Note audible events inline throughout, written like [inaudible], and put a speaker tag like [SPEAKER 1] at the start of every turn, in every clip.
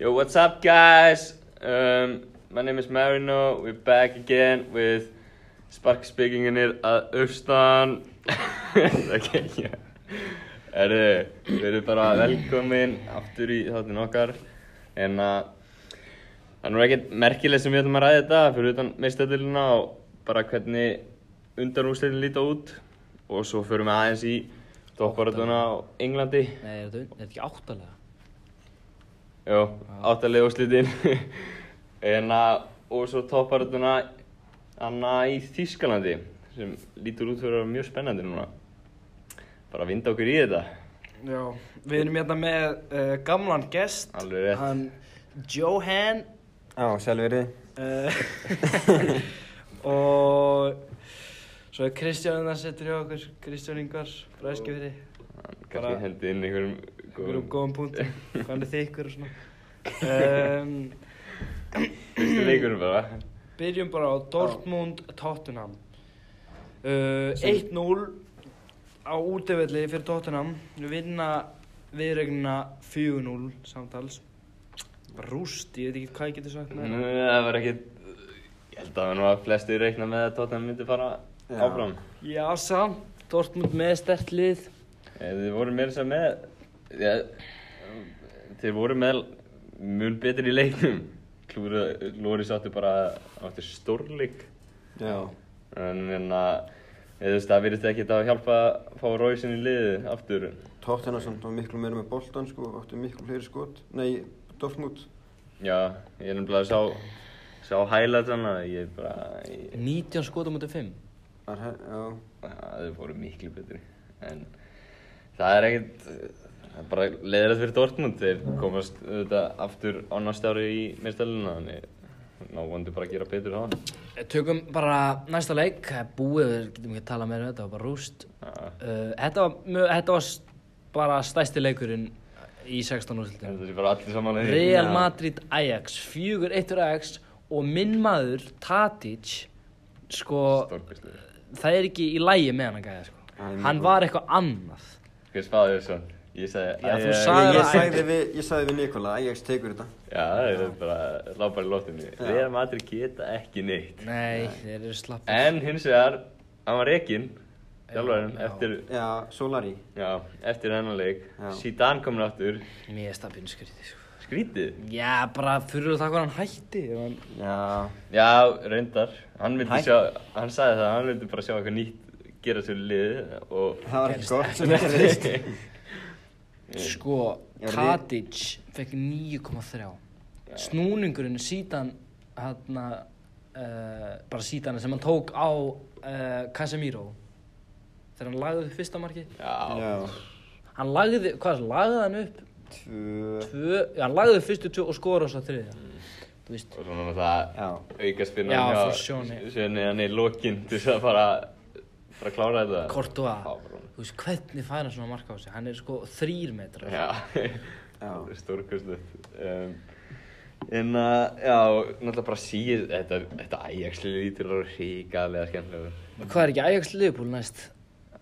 [SPEAKER 1] Yo, what's up, guys? Um, my name is Marino. We're back again with Spark speaking in it að austan. ok, já. Herru, við erum bara velkomin aftur í þáttin okkar. En að, það er nú ekkert merkileg sem við ætlum að ræða þetta, fyrir utan meistættilina og bara hvernig undanúsleitin líta út. Og svo förum við aðeins í toppbaratuna á Englandi.
[SPEAKER 2] Nei, er þetta, er þetta ekki áttalega?
[SPEAKER 1] Jó, áttalega úrslitin [laughs] en að og svo topparönduna anna í Þýskalandi sem lítur út fyrir að vera mjög spennandi núna bara að vinda okkur í þetta
[SPEAKER 3] Já, við erum hérna með uh, gamlan gest
[SPEAKER 1] Alveg rétt.
[SPEAKER 3] Hann Johan
[SPEAKER 4] Já, sjálfurði.
[SPEAKER 3] uh, [laughs] Og Svo er Kristján það setur hjá okkur Kristján Ingvar, bræðskjöfri
[SPEAKER 1] Hann
[SPEAKER 3] Bara-
[SPEAKER 1] kannski hendi inn einhverjum
[SPEAKER 3] Við erum góðum
[SPEAKER 1] [laughs]
[SPEAKER 3] punktum, um hvað hann er þykkur og svona um,
[SPEAKER 1] fyrstu leikunum bara
[SPEAKER 3] Byrjum bara á Dortmund Tottenham uh, 1-0 á útivelli fyrir Tottenham vinna viðregnina 4-0 samtals Bara rúst, ég veit ekki hvað ég getur sagt með
[SPEAKER 1] Nú, það var ekkit ég held að nú að flesti reikna með að Tottenham myndi fara
[SPEAKER 4] Já.
[SPEAKER 1] áfram
[SPEAKER 3] það Já, samt, Dortmund með stert lið
[SPEAKER 1] Eh, Þið voru meira sem með ja, Þið voru með mun betri í leiknum Lóris áttu bara áttu stórleik
[SPEAKER 4] Já.
[SPEAKER 1] en hérna eða þú veist það virðist ekki að hjálpa að fá Róisin í liðið aftur
[SPEAKER 4] Tottenham samt var miklu meira með boltan sko, áttu miklu fleiri skot. Nei, Dortmund.
[SPEAKER 1] já ég er nefnilega að sá sá highlight hann að ég bara ég,
[SPEAKER 2] 19 skotum út af 5
[SPEAKER 4] Var he- Já.
[SPEAKER 1] að þau fóru miklu betri en það er ekkert það er bara leiðilegt fyrir Dortmund þeir komast auðvitað aftur á næsta ári í meðstæluna þannig ná vondu bara að gera betur þá
[SPEAKER 2] Eh, Tökum bara næsta leik, það er búið, við getum ekki að tala meira um þetta, það var bara rúst
[SPEAKER 1] Já.
[SPEAKER 2] uh, Þetta var, mjög, þetta var s- bara stæsti leikurinn í 16 úrslutum
[SPEAKER 1] þetta sé bara allir saman að því.
[SPEAKER 2] Real Madrid Ajax, 4-1 fyrir Ajax og minn maður Tadic, sko,
[SPEAKER 1] Stórkostlegur.
[SPEAKER 2] það er ekki í lægi með hann að gæja, sko
[SPEAKER 4] Hann er mjög
[SPEAKER 2] Hann
[SPEAKER 4] góður.
[SPEAKER 2] var eitthvað annað
[SPEAKER 1] hver spáði þessu ég sagði
[SPEAKER 2] Já, þú
[SPEAKER 1] Ajax.
[SPEAKER 2] sagðir Það
[SPEAKER 4] Ég, ég,
[SPEAKER 2] er að-
[SPEAKER 4] sagði við, ég sagði við Nikola, Ajax tekur þetta.
[SPEAKER 1] Já, það er bara lápar í loftinu. Real Madrid geta ekki neitt.
[SPEAKER 2] Nei, þeir eru slappið
[SPEAKER 1] En hins vegar, hann var rekinn, þjálfarinn, eftir,
[SPEAKER 4] Já, Solari.
[SPEAKER 1] já, eftir hennan leik.
[SPEAKER 4] Já.
[SPEAKER 1] Zidane komin aftur,
[SPEAKER 4] Eh?
[SPEAKER 2] Mér er stappinu skrítið, sko
[SPEAKER 1] skrítið.
[SPEAKER 2] Já, bara fyrir það hvað hann hætti ef hann...
[SPEAKER 4] Já.
[SPEAKER 1] Já, reyndar, hann vildi
[SPEAKER 4] Hæ?
[SPEAKER 1] sjá, hann sagði það, hann vildi bara sjá eitthvað nýtt gera sér liðið og
[SPEAKER 4] Það var ekki gott sem gerðist.
[SPEAKER 2] Sko,
[SPEAKER 4] Já, við-
[SPEAKER 2] Tadic fekk 9,3 Snúningurinn síðan hérna uh, bara síðan sem hann tók á uh, Casemiro þegar hann lagði upp fyrsta marki
[SPEAKER 1] já,
[SPEAKER 4] Já.
[SPEAKER 2] hann lagði, hvað er það, lagði hann upp
[SPEAKER 4] Tvö.
[SPEAKER 2] tvö, já, hann lagði upp fyrstu tvö og skora svo þriðja
[SPEAKER 1] Mm.
[SPEAKER 2] þú veist,
[SPEAKER 1] og svona það
[SPEAKER 4] Já.
[SPEAKER 1] auka
[SPEAKER 2] Já,
[SPEAKER 1] spinnar
[SPEAKER 2] frá Sjóni.
[SPEAKER 1] Sjóni hann í lokinn til þess að fara, fara að klára þetta.
[SPEAKER 2] Kortua
[SPEAKER 1] Já, bara-
[SPEAKER 2] þú veist, hvernig fær hann svona marka á sig hann er sko þrýr metrar
[SPEAKER 1] Já.
[SPEAKER 4] Já.
[SPEAKER 1] [laughs] stórkostlegt um, en að, já, náttúrulega bara síð þetta, þetta Ajax-liði lítur að vera ríkaðlega skemmtilega
[SPEAKER 2] hvað er ekki Ajax Liverpool næst?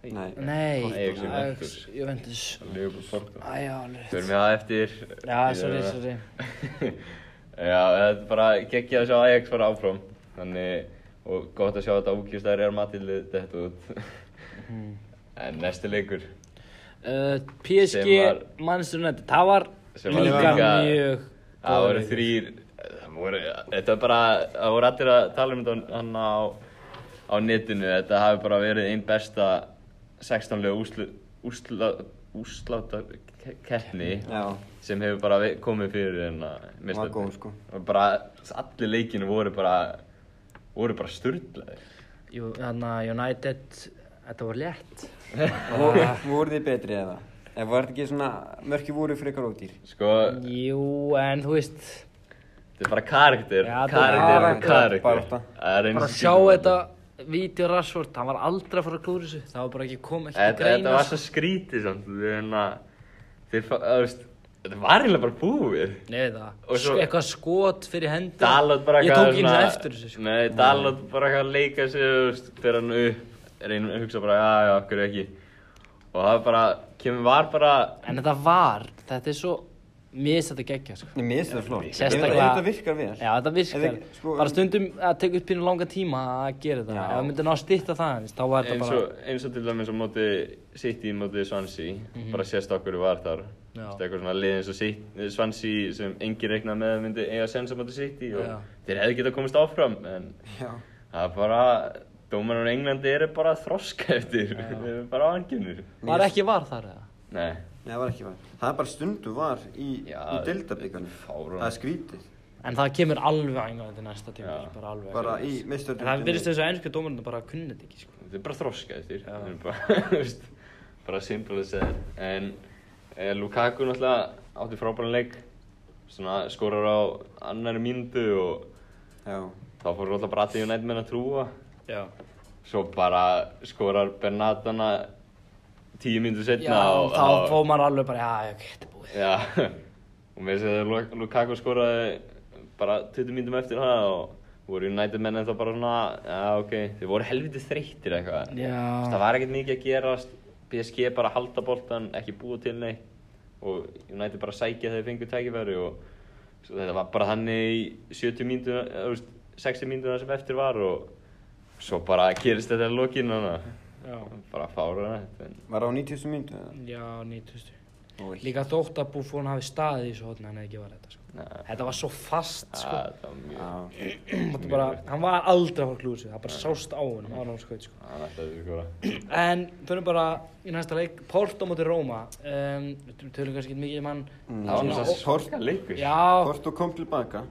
[SPEAKER 4] Nei.
[SPEAKER 2] Nei,
[SPEAKER 1] Ajax Juventus.
[SPEAKER 2] Ajax Juventus
[SPEAKER 1] Liverpool Porto
[SPEAKER 2] Æja, alveg
[SPEAKER 1] Förum við það eftir
[SPEAKER 2] Já, sorry, sorry.
[SPEAKER 1] [laughs] Já, þetta er bara geggja að sjá Ajax fara áfram Þannig, og gott að sjá þetta ógjústæður er matillið þetta út En næsti leikur
[SPEAKER 2] Uh,
[SPEAKER 1] Sem
[SPEAKER 2] PSG,
[SPEAKER 1] var-
[SPEAKER 2] Manchester United, það var
[SPEAKER 1] Sem var
[SPEAKER 2] líka
[SPEAKER 1] líka-
[SPEAKER 2] mjög
[SPEAKER 1] Það voru
[SPEAKER 2] leikur.
[SPEAKER 1] þrýr það voru, Þetta var bara, það voru allir að tala um þetta hann á, á netinu Þetta hafi bara verið einn besta 16 lega úrslu, úrsla, úrsláttar keppni
[SPEAKER 4] Já.
[SPEAKER 1] sem hefur bara ve- komið fyrir hérna en að
[SPEAKER 4] Var góð, sko.
[SPEAKER 1] og bara allir leikinu voru bara voru bara sturdlaði
[SPEAKER 2] Jú, Þannig að United, þetta var létt
[SPEAKER 4] Voru- Voruð þið betri eða? Ef var þetta ekki svona, mörki voru frekar ódýr.
[SPEAKER 1] sko,
[SPEAKER 2] Jú, en þú veist
[SPEAKER 1] þetta er bara karakter
[SPEAKER 2] Já, þetta er
[SPEAKER 1] karakter og karakter
[SPEAKER 4] karakter, barátta.
[SPEAKER 1] Það er eins
[SPEAKER 2] bara
[SPEAKER 1] og
[SPEAKER 2] sjá
[SPEAKER 1] skrýtið.
[SPEAKER 2] þetta Vídeó Rashford, hann var aldrei að fara að klúra þessu það var bara ekki kom ekki
[SPEAKER 1] þetta, þetta var
[SPEAKER 2] sko.
[SPEAKER 1] svo skrítið samt þannig að þeir fá, þú veist þetta var eiginlega bara búið
[SPEAKER 2] Nei, það,
[SPEAKER 1] Og svo-
[SPEAKER 2] svo... eitthvað skot fyrir hendi
[SPEAKER 1] Dalot bara
[SPEAKER 2] Ég tók inn það eftir þessu sko.
[SPEAKER 1] Nei, Dalot bara eitthvað að leika sig, þú veist, fyrir hann upp reynum að hugsa bara, já, já, okkur ekki og það bara, kemur var bara
[SPEAKER 2] En þetta var, þetta er svo mér finnst þetta geggja sko.
[SPEAKER 4] Nei, mér finnst þetta flott.
[SPEAKER 2] Sérstaklega-
[SPEAKER 4] Ef þetta virkar vel.
[SPEAKER 2] Já, þetta virkar.
[SPEAKER 4] Ef þið- sko-
[SPEAKER 2] bara stundum að teka upp pínu langa tíma að gera þetta.
[SPEAKER 4] Já.
[SPEAKER 2] Ef það myndi ná að stýtta það aðeins, þá var þetta
[SPEAKER 1] eins
[SPEAKER 2] bara...
[SPEAKER 1] og, eins og til dæmis á móti City, móti Swansea, bara sést okkur var þar.
[SPEAKER 2] Mhm. Já.
[SPEAKER 1] Þetta er eitthvað svona lið eins og Sit- Swansea sem engin reiknað með að myndi eiga sens á móti City og
[SPEAKER 2] Já.
[SPEAKER 1] þeir hefði getað komist áfram en
[SPEAKER 4] Já.
[SPEAKER 1] það er bara, dómarinn á Englandi eru bara að þroska eftir, þeir eru bara áhengjumir.
[SPEAKER 2] Var ekki var þar eða?
[SPEAKER 1] Nei,
[SPEAKER 4] Nei, það var ekki var. Það er bara stundu var í,
[SPEAKER 1] Já,
[SPEAKER 4] í deildabíkanum.
[SPEAKER 1] fáránlegt.
[SPEAKER 4] Það er skrítið.
[SPEAKER 2] En það kemur alveg að Englandi næsta tíma,
[SPEAKER 1] Já.
[SPEAKER 2] bara alveg.
[SPEAKER 4] Bara
[SPEAKER 3] En
[SPEAKER 4] í
[SPEAKER 3] það
[SPEAKER 4] meistardöldinni.
[SPEAKER 3] virðist þess að ennsku dómarinn bara kunni þetta ekki, sko.
[SPEAKER 1] þetta er bara að þroska eftir, þeir eru bara, [laughs] þú veist, bara simple as that. En eh, Lukaku náttúrulega átti frábæran leik, svona skorar á annar mínútu og
[SPEAKER 4] Já.
[SPEAKER 1] þá fór alltaf bara aðeins United menn að trúa.
[SPEAKER 2] sko.
[SPEAKER 3] Já.
[SPEAKER 1] Svo bara skorar Bernatana tíu mínútur
[SPEAKER 2] Já,
[SPEAKER 4] Hérna
[SPEAKER 1] setna og
[SPEAKER 2] þá fóð maður alveg bara, já, já, ok, þetta er búið.
[SPEAKER 1] Já, og með þess að Lu- Lukaku skoraði bara 20 mínútum eftir það og voru United menn ennþá bara svona, já ok, þeir voru helviti þreyttir eitthvað.
[SPEAKER 2] Já.
[SPEAKER 1] Þú veist, Það var ekkert mikið að gerast, PSG bara halda boltan, ekki búa til neitt og United bara sækja þegar þeir fengu tækifæri og svo þetta var bara þannig í 70 mínútur, þú veist, 60 mínútur sem eftir var og svo bara gerist þetta í lokin hana.
[SPEAKER 3] Já.
[SPEAKER 1] Bara fára þetta, en
[SPEAKER 4] Var á 90. myndu eða?
[SPEAKER 3] Já, 90.
[SPEAKER 4] Úi.
[SPEAKER 3] Líka þótt að Buffon hafi staðið í svo hotna hann hefði ekki var þetta, sko.
[SPEAKER 1] na,
[SPEAKER 3] Þetta var svo fast, sko.
[SPEAKER 1] það var mjög,
[SPEAKER 4] Já.
[SPEAKER 3] Þetta bara, hann var aldrei að fara klúsið, það bara sást á hann, hann var hann skoðið, sko.
[SPEAKER 1] það ætlaði að skora.
[SPEAKER 3] En fyrir bara í næsta leik, Porto móti Róma um, Við tölum kannski ekki mikið um hann
[SPEAKER 4] Mm,
[SPEAKER 1] Það var náttúrulega
[SPEAKER 4] Svona-
[SPEAKER 1] sorga leikur.
[SPEAKER 3] Já,
[SPEAKER 4] Porto kom tilbaka.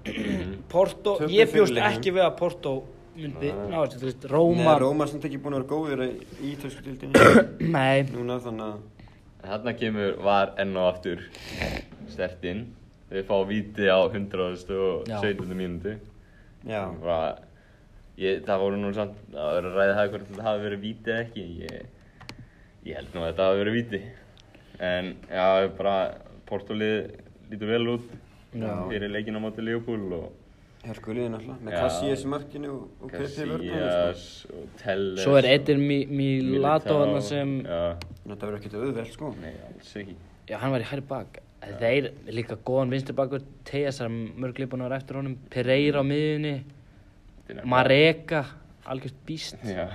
[SPEAKER 3] Porto,
[SPEAKER 4] Töpuðu
[SPEAKER 3] ég
[SPEAKER 4] fyrir
[SPEAKER 3] bjóst
[SPEAKER 4] leiknum.
[SPEAKER 3] ekki við að Porto myndi ná þessu, þú veist,
[SPEAKER 4] Nei,
[SPEAKER 3] Róma
[SPEAKER 4] Róma er samt ekki búin að vera góðir í- í ítalsku
[SPEAKER 2] [coughs]
[SPEAKER 4] dildinni.
[SPEAKER 3] Nei,
[SPEAKER 4] Núna þannig að...
[SPEAKER 1] Þarna kemur var enn og aftur stertinn. Þeir fá víti á 117. mínútu.
[SPEAKER 4] Já.
[SPEAKER 1] Bara, ég, það voru nú samt að vera að ræða það hvort þetta hafi verið víti eða ekki. Ég, ég held nú að þetta hafi verið víti. En já, bara Portolið lítur vel út
[SPEAKER 4] Já.
[SPEAKER 1] fyrir leikinn á móti Leopold og
[SPEAKER 4] Hörguliði náttúrulega. Með
[SPEAKER 1] Já.
[SPEAKER 4] Cassias í markinu og, og Pepe í vörnum. Sko.
[SPEAKER 1] Casillas og Telles.
[SPEAKER 2] Svo er Edir
[SPEAKER 1] og
[SPEAKER 2] Milato
[SPEAKER 1] Militao.
[SPEAKER 2] hann sem,
[SPEAKER 1] Já,
[SPEAKER 4] Þetta verður ekkert auðveld sko.
[SPEAKER 1] nei, alls ekki.
[SPEAKER 2] já, hann var í hæri bak. Þeir líka góðan vinstibakur, Tejas er mörg lipan ára eftir honum, Pereira á miðjunni,
[SPEAKER 1] Þetta er
[SPEAKER 2] Mareka, algjört býst.
[SPEAKER 1] Já.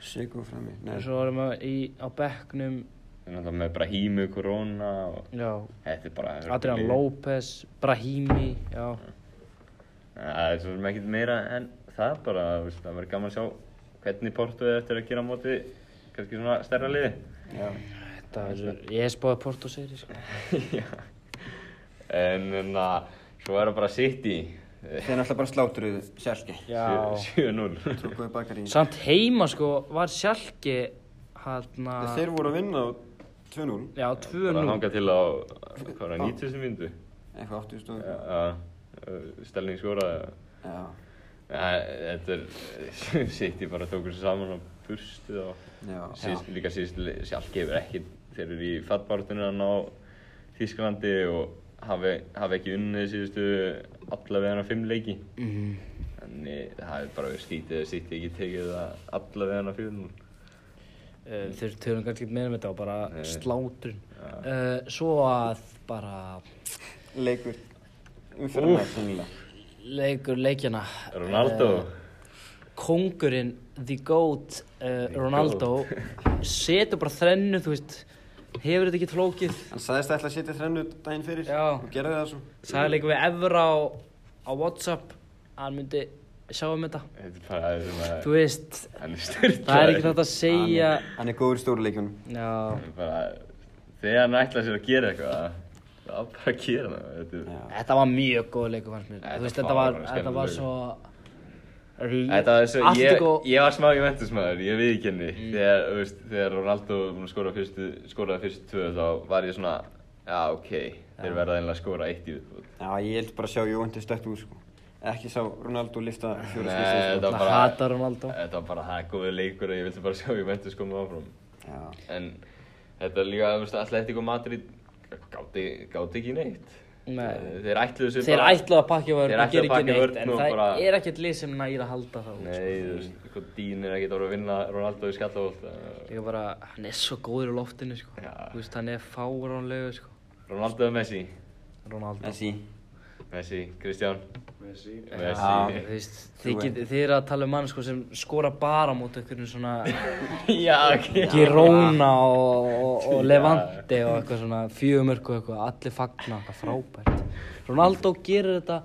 [SPEAKER 4] Sigur frammi. Nei.
[SPEAKER 2] Og svo erum við í, á bekknum,
[SPEAKER 1] Þeir náttúrulega með Brahímu, Corona og
[SPEAKER 2] já,
[SPEAKER 1] þetta er bara...
[SPEAKER 2] Adrian López, Brahimi, já.
[SPEAKER 1] Það er svo sem ekkert meira en það bara, þú veist, það verður gaman að sjá hvernig Porto er eftir að gera á móti kannski svona stærra liði.
[SPEAKER 4] Já.
[SPEAKER 2] Þetta er, ég er spáðið Porto seri, sko.
[SPEAKER 1] Já. en þannig að svo er það bara City,
[SPEAKER 4] Þeir náttúrulega bara slátruðu sjálfi.
[SPEAKER 2] Já.
[SPEAKER 1] 7-0.
[SPEAKER 4] Tókuðu bakar í.
[SPEAKER 2] Samt heima, sko, var sjálki, hann
[SPEAKER 4] Þeir voru að vinna á 2-0.
[SPEAKER 2] já,
[SPEAKER 1] Bara
[SPEAKER 2] 2-0.
[SPEAKER 1] hanga til á, hvað var það, 90 myndu?
[SPEAKER 4] Eitthvað 80 stóð.
[SPEAKER 1] Já, já, Stelling skoraði.
[SPEAKER 4] Já.
[SPEAKER 1] Nei, Þetta er, [laughs] City bara tókur sér saman og burstuð og...
[SPEAKER 4] Já.
[SPEAKER 1] Síðst, líka síðust sjálfgeif er ekki þeir eru í fattbártunni að ná Þísklandi og hafi, hafi ekki unnið síðustu allavega hana fimm leiki
[SPEAKER 2] Mhm.
[SPEAKER 1] þannig það er bara verið skítið að sýtti ekki tekið það allavega hana fjöðun
[SPEAKER 2] Uh, þeir tölum kannski ekki meira um þetta og bara
[SPEAKER 1] Nei.
[SPEAKER 2] slátrun uh, svo að bara
[SPEAKER 4] Leikur. Umfyrir með sennilega.
[SPEAKER 2] leikur leikjana
[SPEAKER 1] Ronaldo
[SPEAKER 2] uh, kongurinn, the goat uh, Ronaldo setur bara þrennu þú veist hefur þetta ekki flókið
[SPEAKER 4] Hann sagðist ætla að setja þrennu daginn fyrir.
[SPEAKER 2] Já.
[SPEAKER 4] Og gerði það svo.
[SPEAKER 2] sagði leikur við Evra á, á Whatsapp hann myndi sjá um þetta
[SPEAKER 1] þetta er bara það sem að
[SPEAKER 2] þú veist,
[SPEAKER 1] hann er styrtað
[SPEAKER 2] það er ekki þetta að segja
[SPEAKER 4] Hann, hann er góður í stóru leikunum.
[SPEAKER 2] já,
[SPEAKER 1] bara, þegar hann ætlar sér að gera eitthvað það er bara að gera það þetta, er-
[SPEAKER 4] Já.
[SPEAKER 2] þetta var mjög góð leikur fannst mér
[SPEAKER 1] Þetta
[SPEAKER 2] þú veist,
[SPEAKER 1] var
[SPEAKER 2] þetta var,
[SPEAKER 1] bara
[SPEAKER 2] þetta var
[SPEAKER 1] skemmtilegur.
[SPEAKER 2] svo
[SPEAKER 1] Þetta var svo, ég,
[SPEAKER 2] Atletico-
[SPEAKER 1] ég var smá Juventus-maður, ég viðkenni þegar, þú veist, þegar Ronaldo var búinn að skora fyrstu, skoraði fyrstu tvö þá var ég svona, já ok, þeir verða einlega að skora eitt í viðbútt.
[SPEAKER 4] Já, ég held bara að sjá Jóhannes stökt úr sko. Ekki sá Ronaldo lifta fjóra
[SPEAKER 1] Nei, þetta
[SPEAKER 4] skilsins. Sko.
[SPEAKER 1] var
[SPEAKER 2] Það
[SPEAKER 1] bara,
[SPEAKER 2] hatar Ronaldo.
[SPEAKER 1] þetta var bara það góði leikur að ég vildi bara [laughs] sjá Juventus koma áfram.
[SPEAKER 4] Já.
[SPEAKER 1] En þetta er líka, þú veist, Atletico Madrid gáti, gáti ekki neitt.
[SPEAKER 2] Nei.
[SPEAKER 1] Þeir ætluðu sér
[SPEAKER 2] Þeir ætlaðu að pakka
[SPEAKER 1] Þeir
[SPEAKER 2] vörn
[SPEAKER 1] ætluðu
[SPEAKER 2] og gera
[SPEAKER 1] að
[SPEAKER 2] ekki
[SPEAKER 1] pakka
[SPEAKER 2] neitt,
[SPEAKER 1] vörn
[SPEAKER 2] en
[SPEAKER 1] og
[SPEAKER 2] það
[SPEAKER 1] bara-
[SPEAKER 2] er ekkert lið sem nægir að halda það sko. út.
[SPEAKER 1] Nei, þú veist, hvað dín er ekkert að voru að vinna Ronaldo í skallavolt.
[SPEAKER 2] Líka bara, hann er svo góður á loftinu, sko.
[SPEAKER 1] Já.
[SPEAKER 2] Þú veist, hann er fáránlegu, sko.
[SPEAKER 1] Ronaldo og Messi,
[SPEAKER 2] Ronaldo
[SPEAKER 4] Messi
[SPEAKER 1] Messi, Kristján
[SPEAKER 5] Messi
[SPEAKER 1] Messi
[SPEAKER 2] Þú veist, þið,
[SPEAKER 4] Trúi.
[SPEAKER 2] get, þið er að tala um mann sko, sem skora bara mót einhverjum svona
[SPEAKER 1] [laughs] Já, ok
[SPEAKER 2] Girona og, og, og Levante og eitthvað svona fjögumörk og eitthvað, allir fagna eitthvað frábært Ronaldo gerir þetta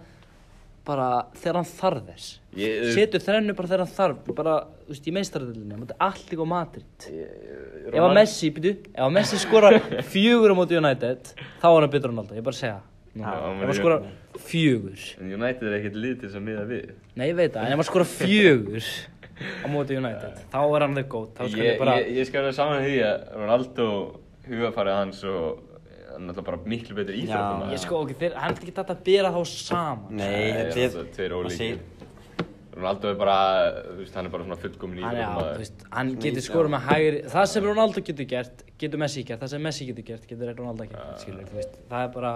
[SPEAKER 2] bara þegar hann þarf þess
[SPEAKER 1] Ég- uh,
[SPEAKER 2] setur þrennu bara þegar hann þarf bara, þú veist, í meistaradelinni, hann allir góð Madrid
[SPEAKER 1] uh,
[SPEAKER 2] ef að
[SPEAKER 1] Ronald-
[SPEAKER 2] Messi, býtu, ef að Messi skorar fjögur á móti United þá er hann betur Ronaldo, ég bara segja Nú,
[SPEAKER 1] Já,
[SPEAKER 2] ef
[SPEAKER 1] menn
[SPEAKER 2] hann
[SPEAKER 1] ég-
[SPEAKER 2] skorar fjögur
[SPEAKER 1] En United er ekkert lið til þess að miða við
[SPEAKER 2] nei, ég veit það, en ef hann skorar fjögur á móti United, þá er hann þau góð þá skal
[SPEAKER 1] Ég,
[SPEAKER 2] ég bara
[SPEAKER 1] ég, ég skal vera saman því að Ronaldo hugafarið hans og eh, hann er náttúrulega bara miklu betur íþróttum
[SPEAKER 2] Ég sko, ok, þeir, hann getur ekki þetta að bera þá saman
[SPEAKER 4] Nei,
[SPEAKER 1] þetta
[SPEAKER 4] þetta
[SPEAKER 1] er
[SPEAKER 4] er
[SPEAKER 1] tveir
[SPEAKER 4] maður
[SPEAKER 1] ólíkir
[SPEAKER 4] segir-
[SPEAKER 1] Ronaldo er bara, þú veist, hann er bara svona fullkomin
[SPEAKER 2] Hann, já, þú
[SPEAKER 1] íþróttum
[SPEAKER 2] veist, hann getur skorað með hægri Það sem Ronaldo getur gert, getur Messi gert Það sem Messi getur gert, getur Ronaldo gert skilur, þú veist, Það er bara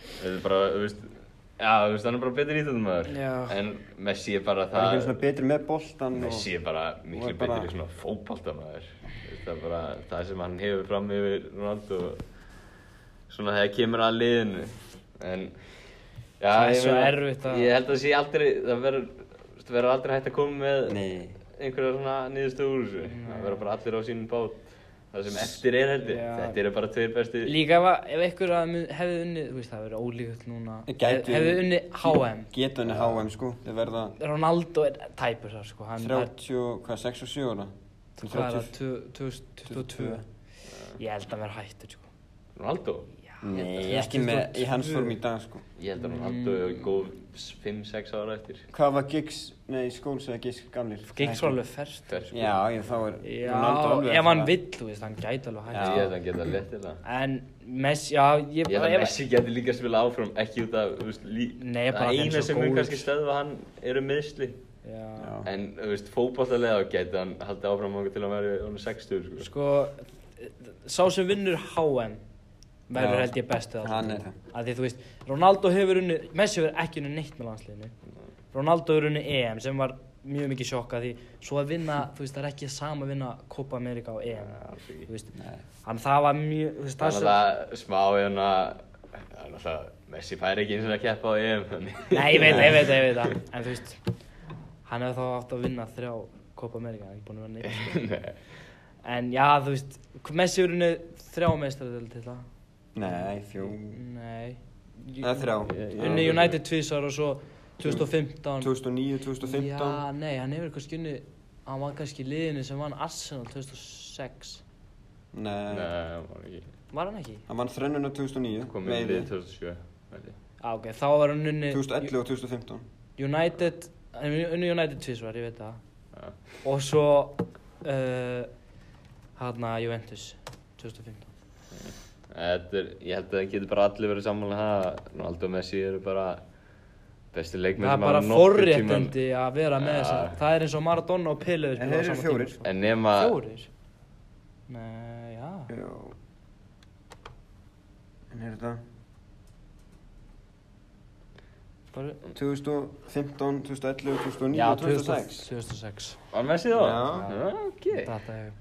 [SPEAKER 1] Þetta er bara, þú veist Já, þú veist, hann er bara betur íþróttum
[SPEAKER 2] Já.
[SPEAKER 1] En Messi er bara
[SPEAKER 4] Það er ekki
[SPEAKER 1] það
[SPEAKER 4] svona betur með boltan og...
[SPEAKER 1] Messi er bara miklu
[SPEAKER 4] er bara-
[SPEAKER 1] betur í svona fótboltamaður Þú veist, Það er bara það sem hann hefur fram yfir Ronaldo Svona þegar kemur að liðinu En já,
[SPEAKER 2] Það er
[SPEAKER 1] ég
[SPEAKER 2] svo
[SPEAKER 1] meina,
[SPEAKER 2] erfitt að-
[SPEAKER 1] Ég held að sé aldrei Það verður þú veist, verður aldrei hægt að koma með
[SPEAKER 4] Nei.
[SPEAKER 1] einhverja svona niðurstöð úr þessu Það verður bara allir á sínum bát Það sem eftir er heldur
[SPEAKER 2] Já.
[SPEAKER 1] Þetta eru bara tveir bestu
[SPEAKER 2] Líka ef, að- ef einhver að mun- hefði unnið Þú veist, það hefur ólíkult núna Hef-
[SPEAKER 4] Gætu-
[SPEAKER 2] Hefði unnið HM
[SPEAKER 4] Getu henni HM sko, þeir verða
[SPEAKER 2] Ronaldo er tæpur þar, sko Hann
[SPEAKER 4] 30, hvað, 6 og 7 ára?
[SPEAKER 2] er, hvað er það,
[SPEAKER 4] 30?
[SPEAKER 2] 2022 Ég held að hann verði hættur, sko
[SPEAKER 1] Ronaldo
[SPEAKER 4] Nei, ekki með, í hans form í dag sko
[SPEAKER 1] Ég held að Ronaldo
[SPEAKER 2] Mm.
[SPEAKER 1] er góð 5-6 ára eftir
[SPEAKER 4] Hvað var Giggs, nei, Skóls eða Giggs gamlir?
[SPEAKER 2] Gengst svo alveg ferst
[SPEAKER 1] Fer, sko.
[SPEAKER 4] Já, ég, þá er
[SPEAKER 2] Já,
[SPEAKER 4] Ronaldo alveg
[SPEAKER 2] ef hann
[SPEAKER 4] að-
[SPEAKER 2] vill, þú veist, hann gæti alveg hætt
[SPEAKER 1] Ég held að hann geta letilega
[SPEAKER 2] En Messi, já, ég
[SPEAKER 1] Ég held að
[SPEAKER 2] ef-
[SPEAKER 1] Messi geti líka spila áfram, ekki út af, þú veist, lí...
[SPEAKER 2] Nei, bara
[SPEAKER 1] það
[SPEAKER 2] þeim
[SPEAKER 1] eina
[SPEAKER 2] svo
[SPEAKER 1] sem mun
[SPEAKER 2] góður.
[SPEAKER 1] kannski stöðva hann eru meðsli.
[SPEAKER 2] Já,
[SPEAKER 4] Já.
[SPEAKER 1] En, þú veist, fótballalega geti hann haldið áfram okkur til að vera honum 60, sko.
[SPEAKER 2] Sko, sá sem vinnur HM verður
[SPEAKER 4] Já.
[SPEAKER 2] held ég bestu
[SPEAKER 4] Hann er það.
[SPEAKER 2] Af því þú veist, Ronaldo hefur unnið, Messi hefur ekki unnið neitt með landsliðinu. Ronaldo hefur unnið EM sem var mjög mikið sjokka því svo að vinna, þú veist, það er ekki sama að vinna Copa America og EM.
[SPEAKER 1] alls ekki.
[SPEAKER 2] þú veist, hann það var mjög, þú veist, það
[SPEAKER 1] Það er alltaf smá, hérna, það er alltaf, Messi fær ekki eins og að keppa á EM, þannig.
[SPEAKER 2] Nei, ég veit, það, ég veit, það, ég veit það, en þú veist, hann hefur þá átt að vinna þrjá Copa America, hann er ekki búin að vinna neitt. sko.
[SPEAKER 1] [laughs]
[SPEAKER 2] En já, þú veist, Messi hefur unnið þrjá meistaradöld til það.
[SPEAKER 4] Nei, fjó
[SPEAKER 2] Nei
[SPEAKER 4] Eða þrjá
[SPEAKER 2] Unni United tvísar og svo 2015
[SPEAKER 4] 2009,
[SPEAKER 2] Já,
[SPEAKER 4] 2015
[SPEAKER 2] nei, hann hefur kannski unni Hann var kannski í liðinu sem vann Arsenal 2006
[SPEAKER 1] Nei,
[SPEAKER 4] Nei,
[SPEAKER 1] það var ekki.
[SPEAKER 2] Var hann ekki?
[SPEAKER 4] hann vann þrennuna 2009
[SPEAKER 1] Komið
[SPEAKER 4] meiri.
[SPEAKER 1] um við 2007, veit ég.
[SPEAKER 2] Já, ok, þá var hann unni
[SPEAKER 4] 2011 og 2015
[SPEAKER 2] United Hann hefur unni United tvísar, ég veit það
[SPEAKER 1] Já.
[SPEAKER 2] Og svo uh, Hanna Juventus 2015
[SPEAKER 1] Þetta er, ég held að það getur bara allir verið sammála um það að Ronaldo og Messi eru bara bestu leikmenn
[SPEAKER 2] Það er
[SPEAKER 1] sem
[SPEAKER 2] bara
[SPEAKER 1] hafa nokkurn tímann-
[SPEAKER 2] forréttindi að vera með
[SPEAKER 1] Já.
[SPEAKER 2] þess Það er eins og Maradona og Pele
[SPEAKER 4] En þeir eru fjórir.
[SPEAKER 1] En nema,
[SPEAKER 2] Fjórir? Nei, já
[SPEAKER 4] Já En er þetta
[SPEAKER 2] Bara
[SPEAKER 4] 2015, 2011, 2009
[SPEAKER 2] Já,
[SPEAKER 4] og 2006
[SPEAKER 2] 2006
[SPEAKER 1] var Messi þá?
[SPEAKER 4] Já.
[SPEAKER 1] ok.
[SPEAKER 2] Data ég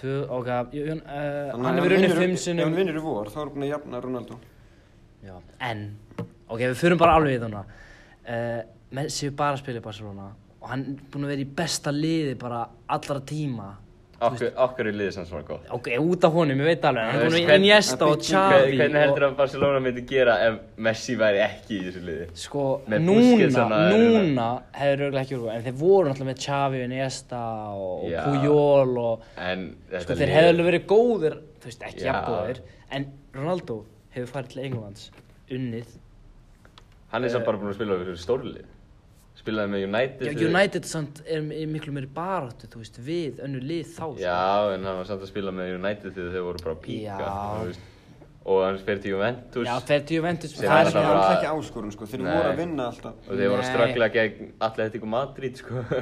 [SPEAKER 2] Tvö, ok, Jón, uh,
[SPEAKER 4] Þannig
[SPEAKER 2] hann
[SPEAKER 4] að
[SPEAKER 2] hefur unnið
[SPEAKER 4] vinnur-
[SPEAKER 2] fimm
[SPEAKER 4] Ef hann
[SPEAKER 2] sinnum
[SPEAKER 4] vinnur í vor, þá er hann búin að jafna Ronaldo
[SPEAKER 2] Já, en Ok, við förum bara alveg í þarna uh, Messi hefur bara að spila í Barcelona Og hann er búinn að vera í besta liði bara allra tíma
[SPEAKER 1] Okkur, okkur er liðið sem svona gott.
[SPEAKER 2] Ok, út af honum, ég veit alveg Hann
[SPEAKER 1] Þú
[SPEAKER 2] er búinn
[SPEAKER 1] veist,
[SPEAKER 2] að vera
[SPEAKER 1] hvern-
[SPEAKER 2] í Iniesta og
[SPEAKER 1] Hver,
[SPEAKER 2] Xavi
[SPEAKER 1] hvernig heldur
[SPEAKER 2] og-
[SPEAKER 1] að Barcelona myndi gera ef Messi væri ekki í þessu liði?
[SPEAKER 2] Sko,
[SPEAKER 1] Með Busquets
[SPEAKER 2] núna,
[SPEAKER 1] þarna er-
[SPEAKER 2] núna hefur auðvitað ekki verið En þeir voru náttúrulega með Xavi og Iniesta og
[SPEAKER 1] Já.
[SPEAKER 2] Puyol og
[SPEAKER 1] En þetta
[SPEAKER 2] Sko þeir hefðu alveg verið góðir, þú veist ekki
[SPEAKER 1] Já.
[SPEAKER 2] jafngóðir En Ronaldo hefur farið til Englands, unnið
[SPEAKER 1] Hann er samt bara búinn að spila fyrir stórlið. Spilaði með United.
[SPEAKER 2] Já, United samt er, er miklu meiri baráttu, þú veist, við önnu lið þá sko.
[SPEAKER 1] Já, en hann var samt að spila með United þegar þau voru bara að píka.
[SPEAKER 2] Já.
[SPEAKER 1] þú veist. Og hann fer til Juventus.
[SPEAKER 2] Já, þeir til Juventus
[SPEAKER 1] Sem
[SPEAKER 2] það
[SPEAKER 4] Það
[SPEAKER 2] er
[SPEAKER 1] alltaf
[SPEAKER 2] svona
[SPEAKER 4] er ekki,
[SPEAKER 1] bara-
[SPEAKER 4] hann er ekki áskorun sko, þeir
[SPEAKER 1] Nei.
[SPEAKER 4] voru að vinna alltaf
[SPEAKER 1] Og þeir voru að
[SPEAKER 2] Nei.
[SPEAKER 1] ströggla gegn Atletico Madrid, sko. [laughs]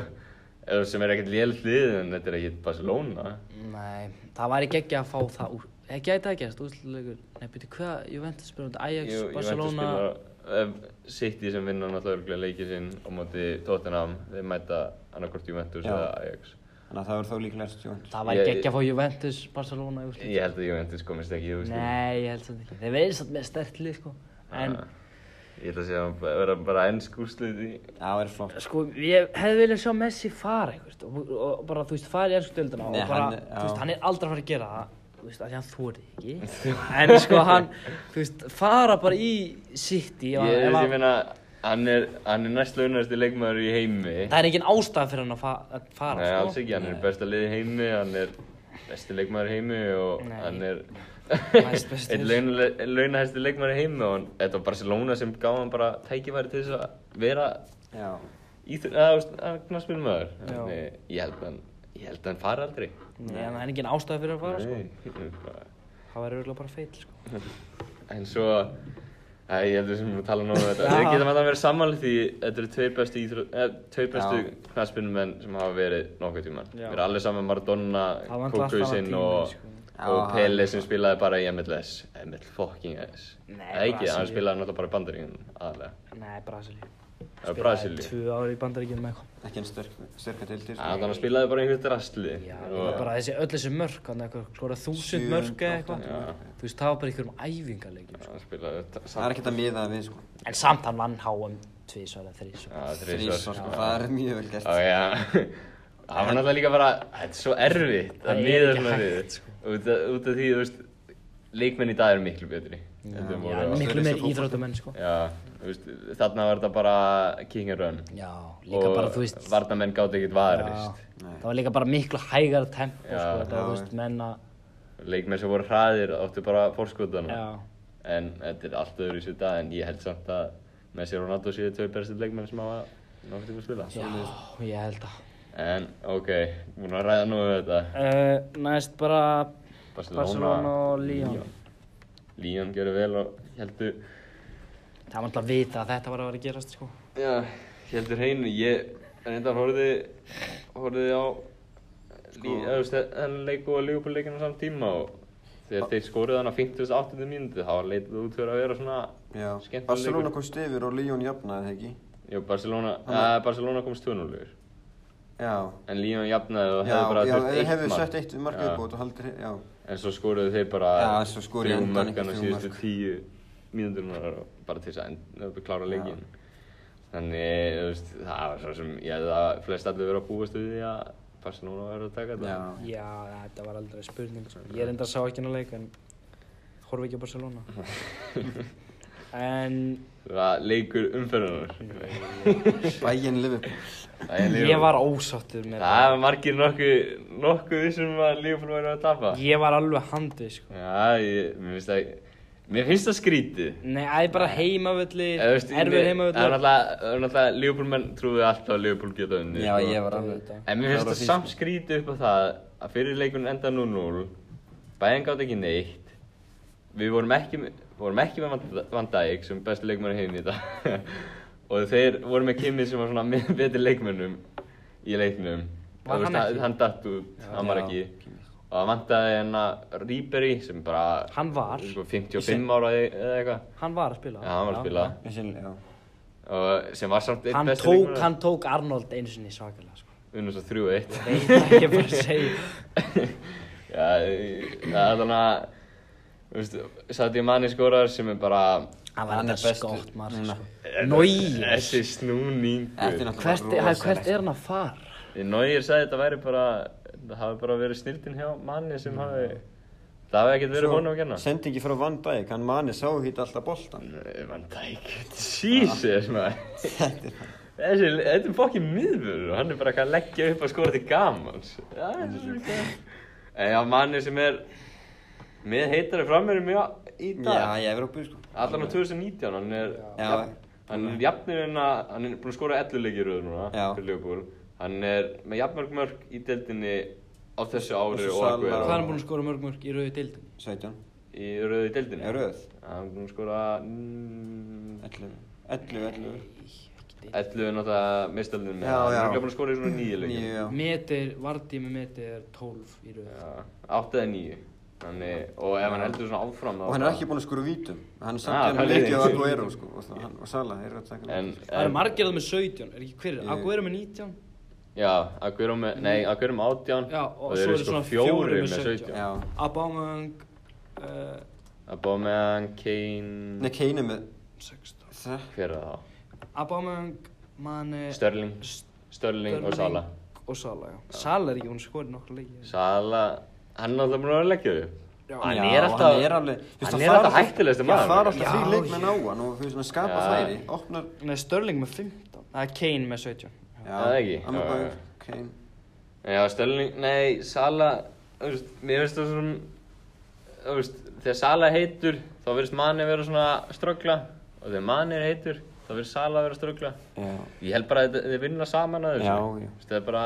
[SPEAKER 1] Eða sem er ekkert lélt lið, en þetta er ekkert Barcelona.
[SPEAKER 2] Nei, það var ekki ekki að fá það úr Ekki að það gerst, úrslulegur Nei, byrju, hvað Juventus spyrir um Ajax,
[SPEAKER 1] Jú,
[SPEAKER 2] Barcelona
[SPEAKER 1] Juventus spilar City sem vinna náttúrulega leikið sinn á móti Tottenham. Þeir mæta annarkort Juventus
[SPEAKER 4] Já.
[SPEAKER 1] eða Ajax.
[SPEAKER 4] Þannig að það verður þá líklegast Jóhannes
[SPEAKER 2] Það var ekki
[SPEAKER 1] Ég-
[SPEAKER 2] ekki að fá Juventus, Barcelona í úrslit
[SPEAKER 1] Ég held að Juventus komist ekki í úrslit.
[SPEAKER 2] Nei, ég held samt ekki Þeir verið samt með sterkt lið sko En
[SPEAKER 1] Ah. Ég ætla að segja að vera bara ennsk úrslit í
[SPEAKER 4] það er flott
[SPEAKER 2] sko, ég hefði viljað sjá Messi fara einhvert og, og bara, þú veist, fara í ennsku dildina og
[SPEAKER 4] Nei,
[SPEAKER 2] bara,
[SPEAKER 4] hann- já.
[SPEAKER 2] þú veist, hann er aldrei að fara að gera það þú veist, af því hann
[SPEAKER 1] [laughs]
[SPEAKER 2] þórið ekki en sko, hann, þú veist, fara bara í City
[SPEAKER 1] Ég,
[SPEAKER 2] og-
[SPEAKER 1] ég,
[SPEAKER 2] ef
[SPEAKER 1] ég
[SPEAKER 2] hann-
[SPEAKER 1] meina, hann er, hann er næst launasti leikmaður í heimi
[SPEAKER 2] það er engin ástæð fyrir hann að, fa að fara
[SPEAKER 1] Nei,
[SPEAKER 2] sko.
[SPEAKER 1] alls ekki, hann er besta lið í heimi, hann er besti leikmaður í heimi og
[SPEAKER 2] Nei.
[SPEAKER 1] hann er
[SPEAKER 2] Næst bestur.
[SPEAKER 1] [laughs] einn launa- launahæsti leikmaður í heimi og hann, þetta var Barcelona sem gaf hann bara tækifæri til þess að vera
[SPEAKER 4] já,
[SPEAKER 1] í knarspilum maður.
[SPEAKER 3] Já.
[SPEAKER 1] Ég held að hann, ég held að hann fari aldrei.
[SPEAKER 2] Nei, en það er engin ástæð fyrir að fara sko.
[SPEAKER 1] Nei, bara-
[SPEAKER 2] það væri örgulega bara feil sko.
[SPEAKER 1] En svo, Æ, ég heldur sem við tala nú um þetta.
[SPEAKER 2] Já.
[SPEAKER 1] Við getum alltaf verið sammála því þetta eru tveir bestu, íþró- eh, tveir bestu
[SPEAKER 4] Já.
[SPEAKER 1] knarspinumenn sem hafa verið nokkuð tíman.
[SPEAKER 3] Já.
[SPEAKER 1] Við erum allir saman Maradona,
[SPEAKER 3] Það vantar alltaf
[SPEAKER 1] Kukusinn
[SPEAKER 3] tíma,
[SPEAKER 1] og,
[SPEAKER 3] sko.
[SPEAKER 1] og
[SPEAKER 4] Já,
[SPEAKER 1] Pele sem spilaði bara í MLS. MLS fucking S.
[SPEAKER 2] Nei,
[SPEAKER 1] Það ekki, hann
[SPEAKER 2] Brasilíu.
[SPEAKER 1] spilaði náttúrulega bara í bandaríkjum aðlega.
[SPEAKER 2] nei, Brasilíu
[SPEAKER 1] Það er Brasilíu.
[SPEAKER 3] Tvö ári í bandaríkjum með eitthvað.
[SPEAKER 4] ekki en styrk, styrka til til
[SPEAKER 1] Þannig að hann spilaði bara í einhvern drastli.
[SPEAKER 2] Já, og bara þessi, öll þessi mörk, hann eitthvað, skora þúsund
[SPEAKER 4] Sjö,
[SPEAKER 2] mörk eða
[SPEAKER 4] átta,
[SPEAKER 2] eitthvað,
[SPEAKER 1] já.
[SPEAKER 2] þú veist, það var bara í einhverjum æfingarleikjum, sko.
[SPEAKER 1] Hann spilaði
[SPEAKER 4] það er ekkert að miða við sko
[SPEAKER 2] En samt hann vann HM tvísvar eða þrísvar.
[SPEAKER 1] Það er
[SPEAKER 4] þrísvar sko, það er mjög vel gert
[SPEAKER 1] Já, [laughs] já. Það var náttúrulega líka bara, þetta er svo erfitt
[SPEAKER 2] Það
[SPEAKER 1] að
[SPEAKER 2] er
[SPEAKER 1] miða
[SPEAKER 2] ekki
[SPEAKER 1] svona
[SPEAKER 2] hægt,
[SPEAKER 1] við.
[SPEAKER 2] sko.
[SPEAKER 1] Út, af- út af því, þú veist, leikmenn í dag eru miklu betri. heldur en
[SPEAKER 2] Já,
[SPEAKER 1] voru á-
[SPEAKER 4] mik-
[SPEAKER 2] miklu
[SPEAKER 4] þessi
[SPEAKER 2] meir
[SPEAKER 4] fótbolti.
[SPEAKER 2] íþróttamenn, sko.
[SPEAKER 1] Já, þú veist, þarna var þetta bara king and run.
[SPEAKER 2] Já, líka bara, þú veist,
[SPEAKER 1] Og varnamenn gátt ekkert
[SPEAKER 2] já,
[SPEAKER 1] varist.
[SPEAKER 4] Nei.
[SPEAKER 2] það var líka bara miklu hægara tempo,
[SPEAKER 1] Já,
[SPEAKER 2] sko, þetta,
[SPEAKER 4] já,
[SPEAKER 2] þú veist, menn að,
[SPEAKER 1] Leikmenn sem voru hraðir áttu bara fórskotana.
[SPEAKER 2] já,
[SPEAKER 1] En þetta er allt öðru í sér dag, en ég held samt að Messi og Ronaldo séu tvei bestu leikmenn sem hafa nokkuð tíma að spila.
[SPEAKER 2] já, ég held að.
[SPEAKER 1] En, ok, búin að ræða nú um þetta.
[SPEAKER 2] Uh, næst bara
[SPEAKER 1] Barcelona.
[SPEAKER 2] Barcelona og Lyon.
[SPEAKER 1] Líon gerur vel og heldur
[SPEAKER 2] Það var alltaf að vita að þetta var að vera að gerast, sko.
[SPEAKER 1] Já, heldur hreinu Ég reyndar horfði horfði á sko. þennan leik og leikupurleikinu samt tíma og þegar þeir skoruðu hann á 58. mínútu þá leitið út fyrir að vera svona
[SPEAKER 4] já,
[SPEAKER 1] skemmtilegur.
[SPEAKER 4] Barcelona komst yfir og Leon jafnaði þegar ekki
[SPEAKER 1] Jú, Barcelona,
[SPEAKER 4] Hann-
[SPEAKER 1] að, Barcelona komst 2-0 yfir.
[SPEAKER 4] já,
[SPEAKER 1] en Líon jafnaði og
[SPEAKER 4] já,
[SPEAKER 1] hefði bara
[SPEAKER 4] já,
[SPEAKER 1] þurft
[SPEAKER 4] þeir
[SPEAKER 1] eitt
[SPEAKER 4] hefðu
[SPEAKER 1] mark.
[SPEAKER 4] sett eitt mark
[SPEAKER 1] Já.
[SPEAKER 4] upp og haldir, já
[SPEAKER 1] en svo skoruðu þeir bara
[SPEAKER 4] Já, svo skoruðu
[SPEAKER 1] þrjú
[SPEAKER 4] endan
[SPEAKER 1] mörk
[SPEAKER 4] ekki
[SPEAKER 1] hann á
[SPEAKER 4] þrjú
[SPEAKER 1] síðustu
[SPEAKER 4] mörk.
[SPEAKER 1] tíu mínútunar bara til þess að end, klára leikin þannig, þú veist, það var svo sem ég held að flest allir verið að búast við því að Barcelona var að taka þetta
[SPEAKER 4] já,
[SPEAKER 3] Já, þetta var aldrei spurning. Sko. Ég reyndar sá ekki hennar leik, en horfi ekki á
[SPEAKER 4] [laughs]
[SPEAKER 3] Barcelona. en
[SPEAKER 1] það var leikur umferðunar
[SPEAKER 4] bæinn Liverpool
[SPEAKER 3] ég var ósáttur með
[SPEAKER 1] það var margir nokkuð nokkuð vissum að Liverpool væri að tapa
[SPEAKER 3] það. Ég var alveg handið, sko.
[SPEAKER 1] já, ég, mér finnst það mér finnst það skrítið
[SPEAKER 3] Nei, það er bara heimavölli,
[SPEAKER 1] Eða, þú veist,
[SPEAKER 3] erfur
[SPEAKER 1] mér- það er
[SPEAKER 3] heimavölli.
[SPEAKER 1] náttúrulega, það er náttúrulega Liverpool menn trúðu alltaf að Liverpool geta unnið
[SPEAKER 4] já,
[SPEAKER 1] sko.
[SPEAKER 4] ég var alveg
[SPEAKER 1] En mér finnst
[SPEAKER 4] Klára
[SPEAKER 1] það
[SPEAKER 4] fyrst.
[SPEAKER 1] samt skrítið upp á það að fyrir leikun enda 0-0 Bæðin gátt ekki neitt Við vorum ekki, með- vorum ekki með Van- Van Dijk sem bestu leikmenn í heimi í dag [laughs] Og þeir voru með Kimi sem var svona [laughs] með betri leikmennum í leiknum
[SPEAKER 2] Var
[SPEAKER 1] Þú
[SPEAKER 2] hann
[SPEAKER 1] veist,
[SPEAKER 2] ekki?
[SPEAKER 1] Hann datt út, hann var
[SPEAKER 4] Já,
[SPEAKER 1] ekki Og það vantaði hennar Ríberi sem bara
[SPEAKER 2] Hann var.
[SPEAKER 1] sko, 55 ára eða eða eitthvað
[SPEAKER 2] Hann var að spila.
[SPEAKER 1] Já, hann var að spila
[SPEAKER 4] Þessi- já.
[SPEAKER 1] Og sem var samt einn
[SPEAKER 2] Hann
[SPEAKER 1] bestu
[SPEAKER 2] tók,
[SPEAKER 1] leikmenn
[SPEAKER 2] hann tók Arnold einu sinni svakalega, sko.
[SPEAKER 1] Unnum svo 3-1
[SPEAKER 2] Nei, ég er bara að segja.
[SPEAKER 1] Já, ég- það er þannig að Þú veist, Sadio Mani skorar sem er bara
[SPEAKER 2] Hann var
[SPEAKER 4] Hann er
[SPEAKER 2] þetta
[SPEAKER 4] bestur.
[SPEAKER 2] skott, maður, sko. Nói.
[SPEAKER 1] Þessi
[SPEAKER 4] Þetta er
[SPEAKER 1] snúningur
[SPEAKER 4] náttúrulega
[SPEAKER 2] Hvert,
[SPEAKER 4] rosalegt.
[SPEAKER 2] er- hvert er hann að fara?
[SPEAKER 1] Nóir sagði þetta væri bara Það hafi bara verið snildin hjá Mani sem hafi Það hafi ekkert verið
[SPEAKER 4] Svo
[SPEAKER 1] honum að kenna
[SPEAKER 4] Sendingi frá Van Dijk, hann mani sá hitt alltaf boltan
[SPEAKER 1] Van Dijk,
[SPEAKER 4] Ah.
[SPEAKER 1] Jesus
[SPEAKER 4] [laughs]
[SPEAKER 1] maður Þessi, þetta er fokkin miðvörður og hann er bara eitthvað að leggja upp að skora til gamans Já, það er svo gaman. En já, manni sem er með heitari framverjum í í dag
[SPEAKER 4] Já, ég er verið á buð sko
[SPEAKER 1] Allan á 2019, hann er
[SPEAKER 4] Já.
[SPEAKER 1] jafn- hann er jafnir en að, hann er búinn að skora 11 leikir röður núna
[SPEAKER 4] Já.
[SPEAKER 1] fyrir Liverpool hann er með jafnmörg mörg í deildinni á þessu ári
[SPEAKER 4] Þessu
[SPEAKER 1] og
[SPEAKER 4] Sala.
[SPEAKER 1] okkur
[SPEAKER 3] Hvað er hann búinn að skora mörg mörg í rauði deildin?
[SPEAKER 4] 17,
[SPEAKER 1] í röðu deildinni
[SPEAKER 4] er röð
[SPEAKER 1] hann er búinn að skora mm,
[SPEAKER 4] 11, 11, 11
[SPEAKER 1] 11 er náttúrulega mistaldin
[SPEAKER 4] Já,
[SPEAKER 1] hann
[SPEAKER 4] já.
[SPEAKER 1] er örugglega búinn að skora í svona 9 leikir
[SPEAKER 4] Níu, já.
[SPEAKER 3] Metir, Vardí með metið er 12 í rauði.
[SPEAKER 1] 8 eða 9 Þannig, og ef hann heldur svona áfram
[SPEAKER 4] Og hann er ekki búinn að skora vítum
[SPEAKER 1] Ah,
[SPEAKER 4] Hann er samt
[SPEAKER 1] það
[SPEAKER 4] hérna
[SPEAKER 1] er
[SPEAKER 4] leikið á
[SPEAKER 1] leikið.
[SPEAKER 4] Aguero sko Og, það- hann, og Sala, þeir eru að
[SPEAKER 1] en,
[SPEAKER 4] taka leikið.
[SPEAKER 3] Það eru
[SPEAKER 1] en,
[SPEAKER 3] margir það með 17, er ekki hver?
[SPEAKER 4] Ég-
[SPEAKER 3] Aguero með 19?
[SPEAKER 1] já, Aguero með, nei, Aguero með 18
[SPEAKER 3] Já, og
[SPEAKER 1] og
[SPEAKER 3] svo
[SPEAKER 1] þeir eru
[SPEAKER 3] eru
[SPEAKER 1] sko
[SPEAKER 3] svona
[SPEAKER 1] fjóri
[SPEAKER 3] fjórir
[SPEAKER 1] með
[SPEAKER 3] með
[SPEAKER 1] 17
[SPEAKER 4] Já,
[SPEAKER 3] Aubameyang, uh,
[SPEAKER 1] Abomeyang, Kane
[SPEAKER 4] nei, Kane er með
[SPEAKER 2] 16
[SPEAKER 1] Hver er það?
[SPEAKER 2] Abamang, Mane
[SPEAKER 1] Störling, Störling og Sala
[SPEAKER 2] og Sala, já. Sala er ekki hún skorið nokkla leikið
[SPEAKER 1] Sala, hann er alltaf búin að vera að leggja þau
[SPEAKER 2] Já.
[SPEAKER 1] Hann
[SPEAKER 4] Já,
[SPEAKER 1] er alltaf
[SPEAKER 4] hann er alveg þú veist,
[SPEAKER 1] hann
[SPEAKER 4] það
[SPEAKER 1] er
[SPEAKER 4] fara
[SPEAKER 1] alltaf
[SPEAKER 4] alltaf-
[SPEAKER 1] hættilegasti
[SPEAKER 4] Já, það er
[SPEAKER 1] maður
[SPEAKER 4] alltaf
[SPEAKER 2] Já,
[SPEAKER 4] því leikmenn á hann og þú veist, hann skapa
[SPEAKER 1] Já.
[SPEAKER 4] færi opnar,
[SPEAKER 2] Nei, Störling með 15 Það er Kane með 17
[SPEAKER 4] já,
[SPEAKER 1] Það er ekki, já, já,
[SPEAKER 4] Amabang,
[SPEAKER 1] já.
[SPEAKER 4] Kane
[SPEAKER 1] Já, Störling, nei, Sala þú veist, Mér finnst það svona þú veist, Þegar Sala er heitur þá verðist manni vera svona að ströggla og þegar manni er heitur þá verðist Sala að vera að ströggla
[SPEAKER 4] Já,
[SPEAKER 1] Ég held bara að þetta- þeir vinna saman að þessu
[SPEAKER 4] Já, já.
[SPEAKER 1] Þú veist, Það er bara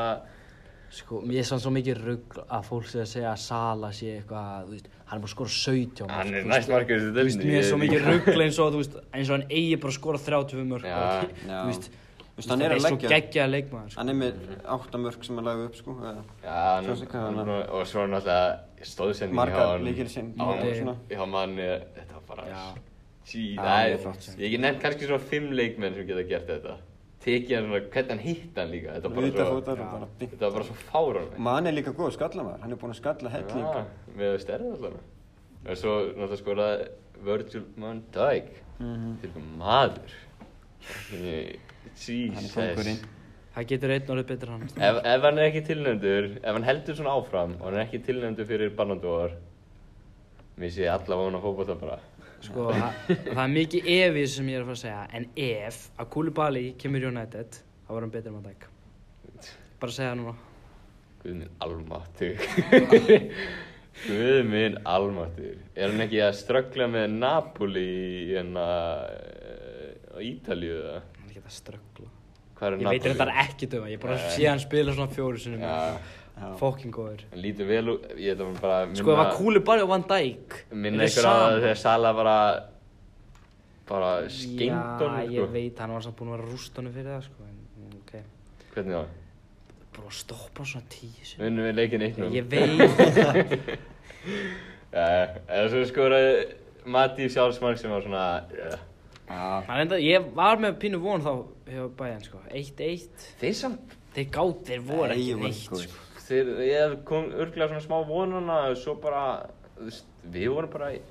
[SPEAKER 6] Sko, mér er sann svo mikið rugg að fólk sé að segja að Sala sé eitthvað, þú veist, hann er bara að skora 17 mörk,
[SPEAKER 1] Hann er
[SPEAKER 6] þú veist.
[SPEAKER 1] næst markið
[SPEAKER 2] Þú veist, mér er svo mikið ruggla eins og þú veist eins og hann eigi bara að skora 30 mörg
[SPEAKER 1] Já,
[SPEAKER 4] já.
[SPEAKER 2] Þú veist,
[SPEAKER 4] Þú veist, hann er að
[SPEAKER 2] svo
[SPEAKER 4] leggja
[SPEAKER 2] geggja leikmaður sko.
[SPEAKER 4] Hann er með áttamörk sem að laga upp, sko eða-
[SPEAKER 1] Já, hann,
[SPEAKER 4] Svo sé hvað
[SPEAKER 1] hann,
[SPEAKER 4] hann-
[SPEAKER 1] og svo náttúrulega stóðsending
[SPEAKER 4] Margar lykilsendingar
[SPEAKER 1] á,
[SPEAKER 4] og svona.
[SPEAKER 1] já, manni, þetta var bara sí,
[SPEAKER 4] Já,
[SPEAKER 1] það
[SPEAKER 4] mjög
[SPEAKER 1] er,
[SPEAKER 4] flott sending.
[SPEAKER 1] ég get nefnt kannski svona fimm leikmenn sem geta gert þetta tekið hann, svona- hvernig hann hitt hann líka þetta var
[SPEAKER 4] Vita
[SPEAKER 1] bara svo,
[SPEAKER 4] fótar og bara bing
[SPEAKER 1] þetta var bara svo fáránlegt.
[SPEAKER 4] Mann er líka góð skallamæður, hann er búinn að skalla helling
[SPEAKER 1] Já, með stærðið allavega og svo náttúrulega skoraði Virgil van Dijk
[SPEAKER 4] Mhm.
[SPEAKER 1] þetta er eitthvað maður Ég-
[SPEAKER 4] Hann er
[SPEAKER 1] Jesus
[SPEAKER 4] kongurinn
[SPEAKER 2] Það getur einn orðið betur hann
[SPEAKER 1] ef, ef hann er ekki tilnæmdur, ef hann heldur svona áfram og hann er ekki tilnæmdur fyrir Barnadóar missi ég alla vona fókbóta bara
[SPEAKER 2] Sko, það, það er mikið efið sem ég er að fara að segja En ef að Koulibaly kemur í United þá var hann betur en að dæk Bara að segja það núna
[SPEAKER 1] Guð minn
[SPEAKER 2] [laughs]
[SPEAKER 1] almáttur Guð minn almáttur Er hann ekki að ströggla með Napoli í hérna eh, á Ítalíu eða?
[SPEAKER 2] Hann er ekki að ströggla
[SPEAKER 1] Hvað er
[SPEAKER 2] Ég veit
[SPEAKER 1] Napoli?
[SPEAKER 2] reyndar ekki döma, ég bara sé hann spila svona fjóru sinni
[SPEAKER 1] Já.
[SPEAKER 2] Fokking góður
[SPEAKER 1] Hann lítur vel út, ég ætla bara að minna
[SPEAKER 2] Sko, ef að Koulibaly og Van Dijk
[SPEAKER 1] Minna ykkur á það þegar Sala bara bara skeimt honum
[SPEAKER 2] Já,
[SPEAKER 1] sko.
[SPEAKER 2] ég veit, hann var samt búinn að vera rústunum fyrir það, sko En, ok
[SPEAKER 1] Hvernig það?
[SPEAKER 2] Bara að stoppa svona tíu sinni
[SPEAKER 1] Vinnum við leikinn 1-0
[SPEAKER 2] Ég veit
[SPEAKER 1] Já, Eh, eða svo skoraði Matti sjálfsmark sem var svona eh. yeah.
[SPEAKER 4] Já,
[SPEAKER 2] Hann enda, ég var með pínu von þá hjá bæjan sko, 1-1
[SPEAKER 1] Þeir samt
[SPEAKER 2] Þeir gátt, þeir voru
[SPEAKER 4] Nei,
[SPEAKER 2] ekki
[SPEAKER 4] ég var
[SPEAKER 2] neitt
[SPEAKER 4] góð.
[SPEAKER 2] sko.
[SPEAKER 1] Þeir, ég kom örglega svona smá vonana og svo bara þú veist, Við vorum bara í-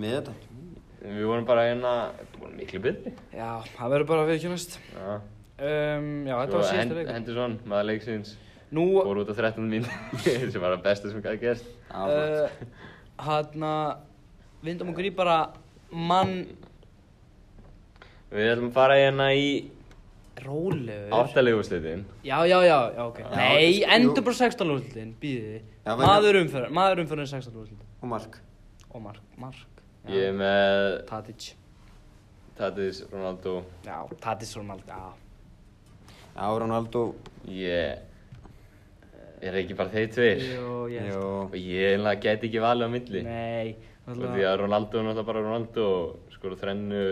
[SPEAKER 4] með þetta
[SPEAKER 1] Við vorum bara hérna Við vorum miklu betri
[SPEAKER 2] Já, það verður bara að viðkjónast
[SPEAKER 1] Já
[SPEAKER 2] um, Já, þetta
[SPEAKER 1] Svo
[SPEAKER 2] var síðasta
[SPEAKER 1] Hen-
[SPEAKER 2] leikur
[SPEAKER 1] Henderson, maður leiksins
[SPEAKER 2] Nú,
[SPEAKER 1] Fór út á 13 mín [laughs] Sem var það besta sem gæti gerst
[SPEAKER 4] Já,
[SPEAKER 2] uh, hann að vindum okkur í bara mann
[SPEAKER 1] Við ætlum að fara hérna í
[SPEAKER 2] rólegur
[SPEAKER 1] áttalegu
[SPEAKER 2] Já, já, já, já, ok
[SPEAKER 4] Já,
[SPEAKER 2] Nei,
[SPEAKER 4] jú.
[SPEAKER 2] endur bara 16 lúðlutin, býði
[SPEAKER 4] Já,
[SPEAKER 2] þið
[SPEAKER 4] væri-
[SPEAKER 2] Maður umferðin, maður umferðin 16 lúðlutin
[SPEAKER 4] og mark
[SPEAKER 2] Og Mark, Mark
[SPEAKER 1] Ég er með
[SPEAKER 2] Tadic
[SPEAKER 1] Tatis Ronaldo
[SPEAKER 2] Já, Tadic Ronaldo, já
[SPEAKER 4] Já, Ronaldo
[SPEAKER 1] Ég Er ekki bara þeir tveir
[SPEAKER 2] Jó, ég
[SPEAKER 4] Jó,
[SPEAKER 1] Og ég eiginlega gæti ekki valið á milli
[SPEAKER 2] Nei,
[SPEAKER 1] Og því að Ronaldo er náttúrulega bara Ronaldo skora þrennu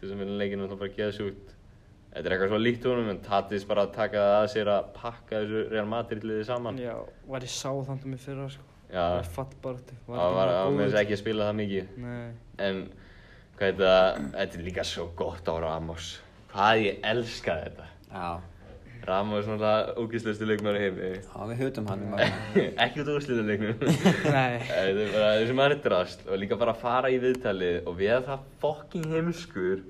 [SPEAKER 1] til þess að vinna leikinu náttúrulega bara geðsjúkt Þetta er eitthvað svo líkt honum en Tatis bara að taka það að sér að pakka þessu Real Madrid liðið saman Já,
[SPEAKER 2] Já, var ég sá þannig mér fyrra sko Það
[SPEAKER 1] það
[SPEAKER 2] var fattbart
[SPEAKER 1] var, var, var með þess ekki að spila það mikið
[SPEAKER 2] Nei
[SPEAKER 1] En hvað heit það, þetta er líka svo gott á Ramos Hvað ég elska þetta
[SPEAKER 4] já,
[SPEAKER 1] Ramos er náttúrulega ógislustu leikmæri heimi [laughs]
[SPEAKER 4] já, við höfum hann með
[SPEAKER 1] Ekki út á úrslita
[SPEAKER 2] Nei
[SPEAKER 1] Þetta er bara þessi maður er drast og líka bara að fara í viðtalið og við það fokking heimskur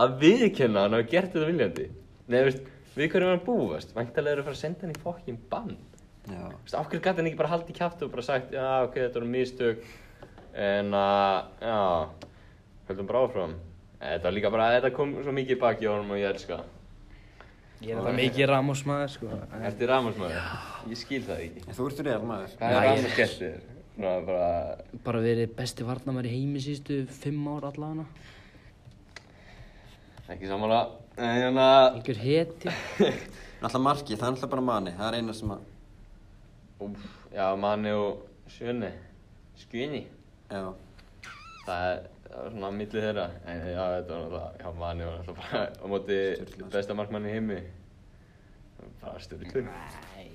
[SPEAKER 1] að viðkenna hann hafa gert þetta viljandi. Nei, veist, við hverju var hann búast? Væntalega eru að fara að senda hann í fokking bann.
[SPEAKER 4] Já,
[SPEAKER 1] Þú veist, ákveður gæti hann ekki bara haldið kjátt og bara sagt, já, ok, þetta voru mistök, en að, já, höldum bara áfram. Þetta var líka bara, þetta kom svo mikið baki á honum og ég elska. það.
[SPEAKER 2] Ég er þetta mikið Ramos maður sko en-
[SPEAKER 1] Ertu Ramos maður? Ég skil það ekki.
[SPEAKER 4] En þú ert real maður
[SPEAKER 1] Hvað er Ramos gert þér? Svona bara,
[SPEAKER 6] Bara verið besti varnamæri í heimi síðustu fimm ár allavega.
[SPEAKER 1] ekki sammála. En hérna,
[SPEAKER 6] Algjör heti.
[SPEAKER 4] Náttúrulega markið, það er náttúrulega bara manni Það er eina sem að,
[SPEAKER 1] Úf, já, manni og sjönni, skynni,
[SPEAKER 4] já
[SPEAKER 1] það er, það var svona á milli þeirra, en já, þetta var náttúrulega, já, manni var náttúrulega bara á móti
[SPEAKER 4] Sturlað.
[SPEAKER 1] besta markmanni í heimi, bara styrlun,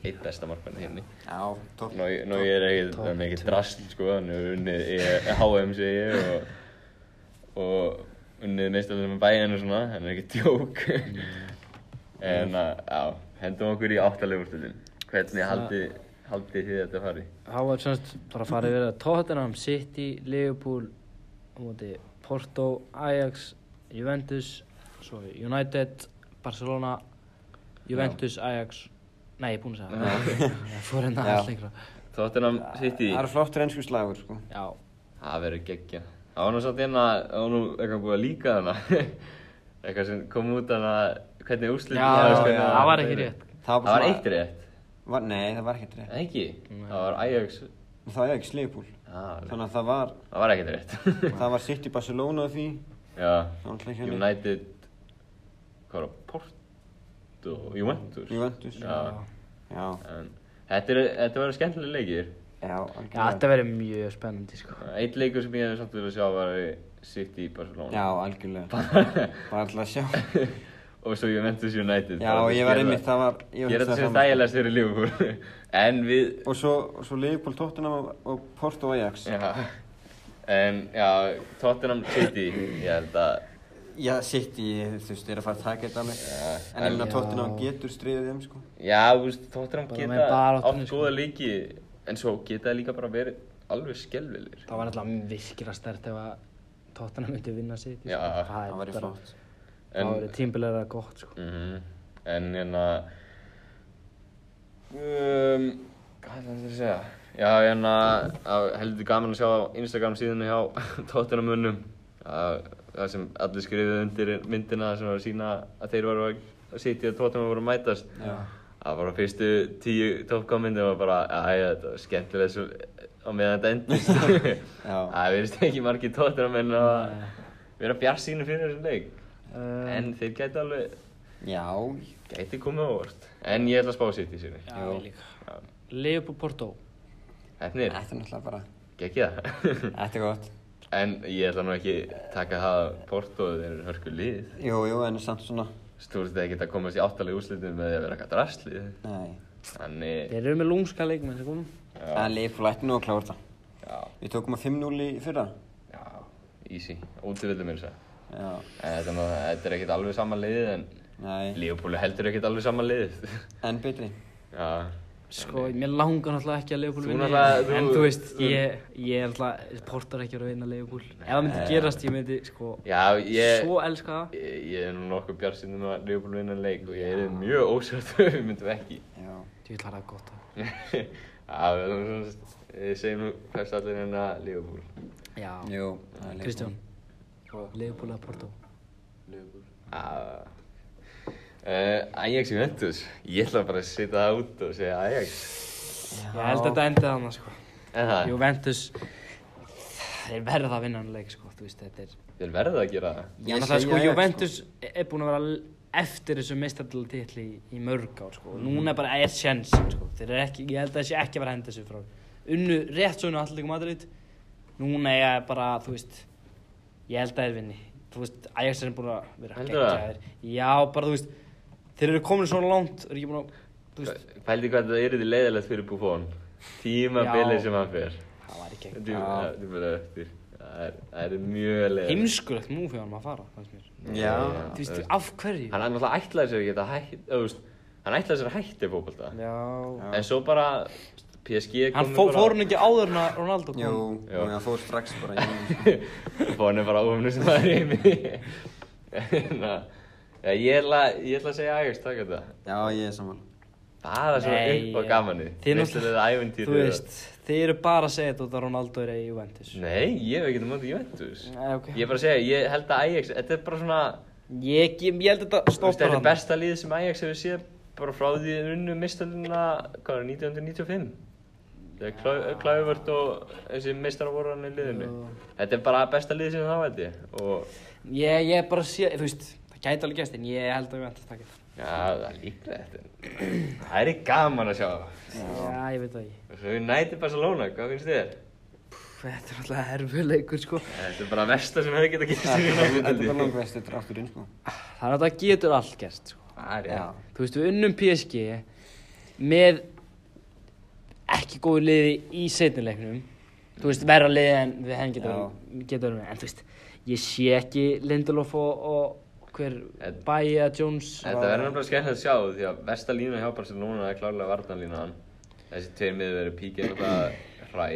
[SPEAKER 1] eitt besta markmanni í heimi.
[SPEAKER 4] Já, topp
[SPEAKER 1] Nó, nó ég er ekkert, það er mikið drast, sko, hann er unnið í HM, segi ég, og, og unnið meistarlega með bæinn og svona, hann er ekki djók, en að, já, hendum okkur í áttalegurstundin, hvernig haldi, haldi þið þetta farið?
[SPEAKER 6] Það var semst bara farið verið að Tottenham, City, Liverpool, á móti Porto, Ajax,
[SPEAKER 2] Juventus, svo United, Barcelona, Juventus, Ajax. Nei, ég er búinn að segja [laughs] það. Ég fór hérna
[SPEAKER 4] Já.
[SPEAKER 2] alls lengra.
[SPEAKER 1] Tottenham City
[SPEAKER 4] Það er flottur ennsku slagur, sko.
[SPEAKER 2] Já,
[SPEAKER 1] Það verður geggja Það var nú satt hérna Það var nú eitthvað búið að líka þarna [laughs] Eitthvað sem kom út þarna Hvernig úrslit
[SPEAKER 2] já,
[SPEAKER 4] já,
[SPEAKER 2] já,
[SPEAKER 4] já.
[SPEAKER 2] það var ekki rétt.
[SPEAKER 1] Það var eitt rétt
[SPEAKER 4] Var, nei, það var ekkert rétt.
[SPEAKER 1] En ekki Það var Ajax
[SPEAKER 4] Og það var ekki Sleipúl.
[SPEAKER 1] Já,
[SPEAKER 4] Þannig að það var,
[SPEAKER 1] Það var ekkert rétt [laughs]
[SPEAKER 4] það var sitt í Barcelona því.
[SPEAKER 1] Já
[SPEAKER 4] Það var alltaf hérna. ekki hann.
[SPEAKER 1] United Hvað var það? Porto Juventus
[SPEAKER 4] Juventus.
[SPEAKER 1] Já
[SPEAKER 4] Já,
[SPEAKER 1] En Þetta, er, þetta var skemmtilega leikir
[SPEAKER 4] já,
[SPEAKER 2] Já,
[SPEAKER 4] algjörlega.
[SPEAKER 2] þetta verður mjög spennandi, sko.
[SPEAKER 1] Eitt leikur sem ég hefði samt vilja sjá var City
[SPEAKER 4] Já,
[SPEAKER 1] Barcelona [laughs]
[SPEAKER 4] algjörlega. Bara alltaf að sjá.
[SPEAKER 1] Og svo Juventus United
[SPEAKER 4] Já,
[SPEAKER 1] Bara
[SPEAKER 4] og ég var
[SPEAKER 1] gera-
[SPEAKER 4] einmitt, það var... ég var
[SPEAKER 1] Gera
[SPEAKER 4] hugsaði
[SPEAKER 1] þetta sem
[SPEAKER 4] sama, sko.
[SPEAKER 1] þægilegast fyrir Liverpool [laughs] En við
[SPEAKER 4] Og svo, og svo Leifból Tottenham og, og Porto Ajax.
[SPEAKER 1] Já, en já, Tottenham City, ég held að,
[SPEAKER 4] Já, sitt í, þú veist, þeir eru að fara að taka þetta alveg. En ég meina
[SPEAKER 2] Já.
[SPEAKER 4] Tottenham getur stríðið þeim, sko.
[SPEAKER 1] já, þú veist, Tottenham
[SPEAKER 2] Bara með
[SPEAKER 1] geta
[SPEAKER 2] baráttunni,
[SPEAKER 1] átt
[SPEAKER 2] sko.
[SPEAKER 1] góða leiki, en svo geta þeir líka bara verið alveg skelvilir.
[SPEAKER 2] Það var alltaf virkilega stert ef að Tottenham myndi vinna sitt.
[SPEAKER 1] Já,
[SPEAKER 4] Það væri flott.
[SPEAKER 2] Það
[SPEAKER 1] En-
[SPEAKER 2] var tímbilega gott, sko.
[SPEAKER 1] Mhm, en hérna, um, hvað ætlaði ég að segja? Já, hérna, það heldur gaman að sjá á Instagram síðunni hjá [laughs] Tottenham unnum, það sem allir skrifuðu undir myndina sem var að sína að þeir varu að, að sitja og Tottenham voru að mætast.
[SPEAKER 4] Já.
[SPEAKER 1] Það var bara fyrstu tíu toppkommendir og bara, aðja, þetta var skemmtilega svo á meðan þetta
[SPEAKER 4] [laughs]
[SPEAKER 1] endist.
[SPEAKER 4] Já.
[SPEAKER 1] Það verðist ekki margir tóttir að menna að vera bjarsínu fyrir þessum leik.
[SPEAKER 2] Uh,
[SPEAKER 1] En þeir gæti alveg,
[SPEAKER 4] Já,
[SPEAKER 1] gæti komið á vort. En ég ætla að spá sitt í sinni.
[SPEAKER 2] já, ég líka. Leifur Porto.
[SPEAKER 1] Hefnir,
[SPEAKER 4] þetta er náttúrulega bara,
[SPEAKER 1] gekk ég það.
[SPEAKER 4] þetta er gott.
[SPEAKER 1] [laughs] en ég ætla nú ekki taka það að Porto þeir eru hörku lið.
[SPEAKER 4] Jú, jú, en samt svona,
[SPEAKER 1] Stúrst ekki að komast í áttalegu úrslitum með því að vera eitthvað drastlið.
[SPEAKER 4] nei.
[SPEAKER 1] Þannig,
[SPEAKER 2] Þeir eru með lúmska leikmenn sem komum.
[SPEAKER 4] En Leifból ætti nú að klára þetta.
[SPEAKER 1] já,
[SPEAKER 4] Við tókum að 5-0 í fyrra.
[SPEAKER 1] já, easy. Útivillum er þess að. segja.
[SPEAKER 4] Já,
[SPEAKER 1] En Þetta er, nú- þetta er ekkert alveg sama liðið en
[SPEAKER 4] nei,
[SPEAKER 1] Leopold heldur ekkert alveg sama liðið.
[SPEAKER 4] en betri.
[SPEAKER 1] [laughs] Já,
[SPEAKER 2] Sko, mér langar náttúrulega ekki að Leifbúl
[SPEAKER 1] Þú
[SPEAKER 2] vinni.
[SPEAKER 1] náttúrulega- þú-
[SPEAKER 2] En þú veist, ég, ég er náttúrulega, portar ekki að vinna Leifbúl. Ef það myndi gerast, ég myndi, sko,
[SPEAKER 1] Eh. já ég,
[SPEAKER 2] svo elska það.
[SPEAKER 1] ég, ég er nú nokkuð bjarsinnum að Leopold vinna leik og ég er mjög ósvært ef við myndum ekki.
[SPEAKER 4] Já,
[SPEAKER 2] Þú vil hlæða gott það.
[SPEAKER 1] Já, við erum svona, við segjum nú fyrst allir hérna Leopold.
[SPEAKER 2] Já.
[SPEAKER 4] jú, það er Leifból.
[SPEAKER 2] Kristján, Leifbúl að Porto.
[SPEAKER 1] Já. Uh, Ajax Juventus, ég ætla bara að setja það út og segja Ajax.
[SPEAKER 2] Ég held að þetta endið annað, sko.
[SPEAKER 1] En það,
[SPEAKER 2] Juventus, þeir verða að vinna hann leik, sko, þú veist, þetta er...
[SPEAKER 1] þeir verða að gera það.
[SPEAKER 2] Já,
[SPEAKER 4] Ég
[SPEAKER 2] náttúrulega,
[SPEAKER 4] segi
[SPEAKER 2] sko,
[SPEAKER 4] Ajax,
[SPEAKER 2] Juventus er búin að vera l- eftir þessu meistardeltitli í, í mörg ár, sko. Núna er bara er sjens, sko. Þeir eru ekki, ég held að það sé ekki að vera að henda þessu frá. Unnu, rétt svo unnu Atletico Madrid. Núna er ég bara, þú veist, ég held að þeir vinni. Þú veist, Ajax er búin að vera
[SPEAKER 1] Heldurðu það?
[SPEAKER 2] geggjaðir. Já, bara, þú veist, þeir eru komin svona langt, eru ekki búin að, þú veist,
[SPEAKER 1] Pældi hvað það eru því leiðilegt fyrir Buffon. Tímabilið
[SPEAKER 2] Já.
[SPEAKER 1] sem hann fer.
[SPEAKER 2] það var ekki
[SPEAKER 1] Þetta er- þetta er bara eftir. Það er- það er mjög leiðilegt.
[SPEAKER 2] heimskulegt múf hjá hann að fara, það finnst mér.
[SPEAKER 4] Já,
[SPEAKER 2] Þú veist, af hverju?
[SPEAKER 1] Hann náttúrulega ætlaði sér ekki að hætta, þú veist, hann ætlaði sér að hætta í fókbalta.
[SPEAKER 2] Já.
[SPEAKER 1] En svo bara, PSG kom
[SPEAKER 2] Hann fó, fór hann ekki áður en að Ronaldo kom?
[SPEAKER 4] Jú,
[SPEAKER 1] Já.
[SPEAKER 4] og það fór strax bara í honum.
[SPEAKER 1] Fór hann bara óumni sem það er heimi. En að, já, ég ætla, ég ætla að segja Ajax, takk þetta.
[SPEAKER 4] Já, ég er saman.
[SPEAKER 1] Bara svona
[SPEAKER 2] Nei,
[SPEAKER 1] upp á gamanið.
[SPEAKER 2] þið
[SPEAKER 1] Veistu
[SPEAKER 2] náttúrulega-
[SPEAKER 1] þetta æventýri.
[SPEAKER 2] Þú veist, þið eru bara að segja þetta út af Ronaldo er í Juventus.
[SPEAKER 1] Nei, ég hef ekkert um mótið Juventus.
[SPEAKER 2] Nei, ok.
[SPEAKER 1] Ég er bara að segja, ég held að Ajax, þetta er bara svona,
[SPEAKER 2] Ég, ég, ég held að þetta
[SPEAKER 1] þú veist,
[SPEAKER 2] stoppar
[SPEAKER 1] þetta er
[SPEAKER 2] hann.
[SPEAKER 1] besta lið sem Ajax hefur séð bara frá því þeir unnu mistalina, hvað var, 1995? Þegar
[SPEAKER 2] Ah.
[SPEAKER 1] Klá- Klauvert og þessi mistara voru hann í liðinu. Þetta er bara besta lið sem það veit ég. Og
[SPEAKER 2] Ég, ég bara sé, þú veist, það gæti alveg gæst en ég held að Juventus takk þetta.
[SPEAKER 1] já, það er líklegt. en Það er ekki gaman að sjá það.
[SPEAKER 2] Já, ég veit það ekki.
[SPEAKER 1] Svo við næti Barcelona, hvað finnst þér?
[SPEAKER 2] Pff, Þetta er alltaf erfuleikur, sko.
[SPEAKER 1] Þetta er bara versta sem hefur getað gerst í
[SPEAKER 4] Þetta
[SPEAKER 1] rauninni.
[SPEAKER 4] þetta var langvestir drátturinn, sko.
[SPEAKER 2] Ah, Það er að það getur allt gæst, sko.
[SPEAKER 1] Það er
[SPEAKER 4] Já.
[SPEAKER 1] já.
[SPEAKER 2] Þú veist, við unnum PSG með ekki góðu liði í setnileiknum. Þú veist, verra liði en við hefum getur getur verið með. En þú veist, ég sé ekki Lindelof og, og hver
[SPEAKER 1] En-
[SPEAKER 2] Bæja, Jones.
[SPEAKER 1] Þetta verður náttúrulega skemmtilegt að sjá því að versta lína hjá Barcelona er klárlega varnarlínan þessi tveir miður verður píkir eitthvað hræ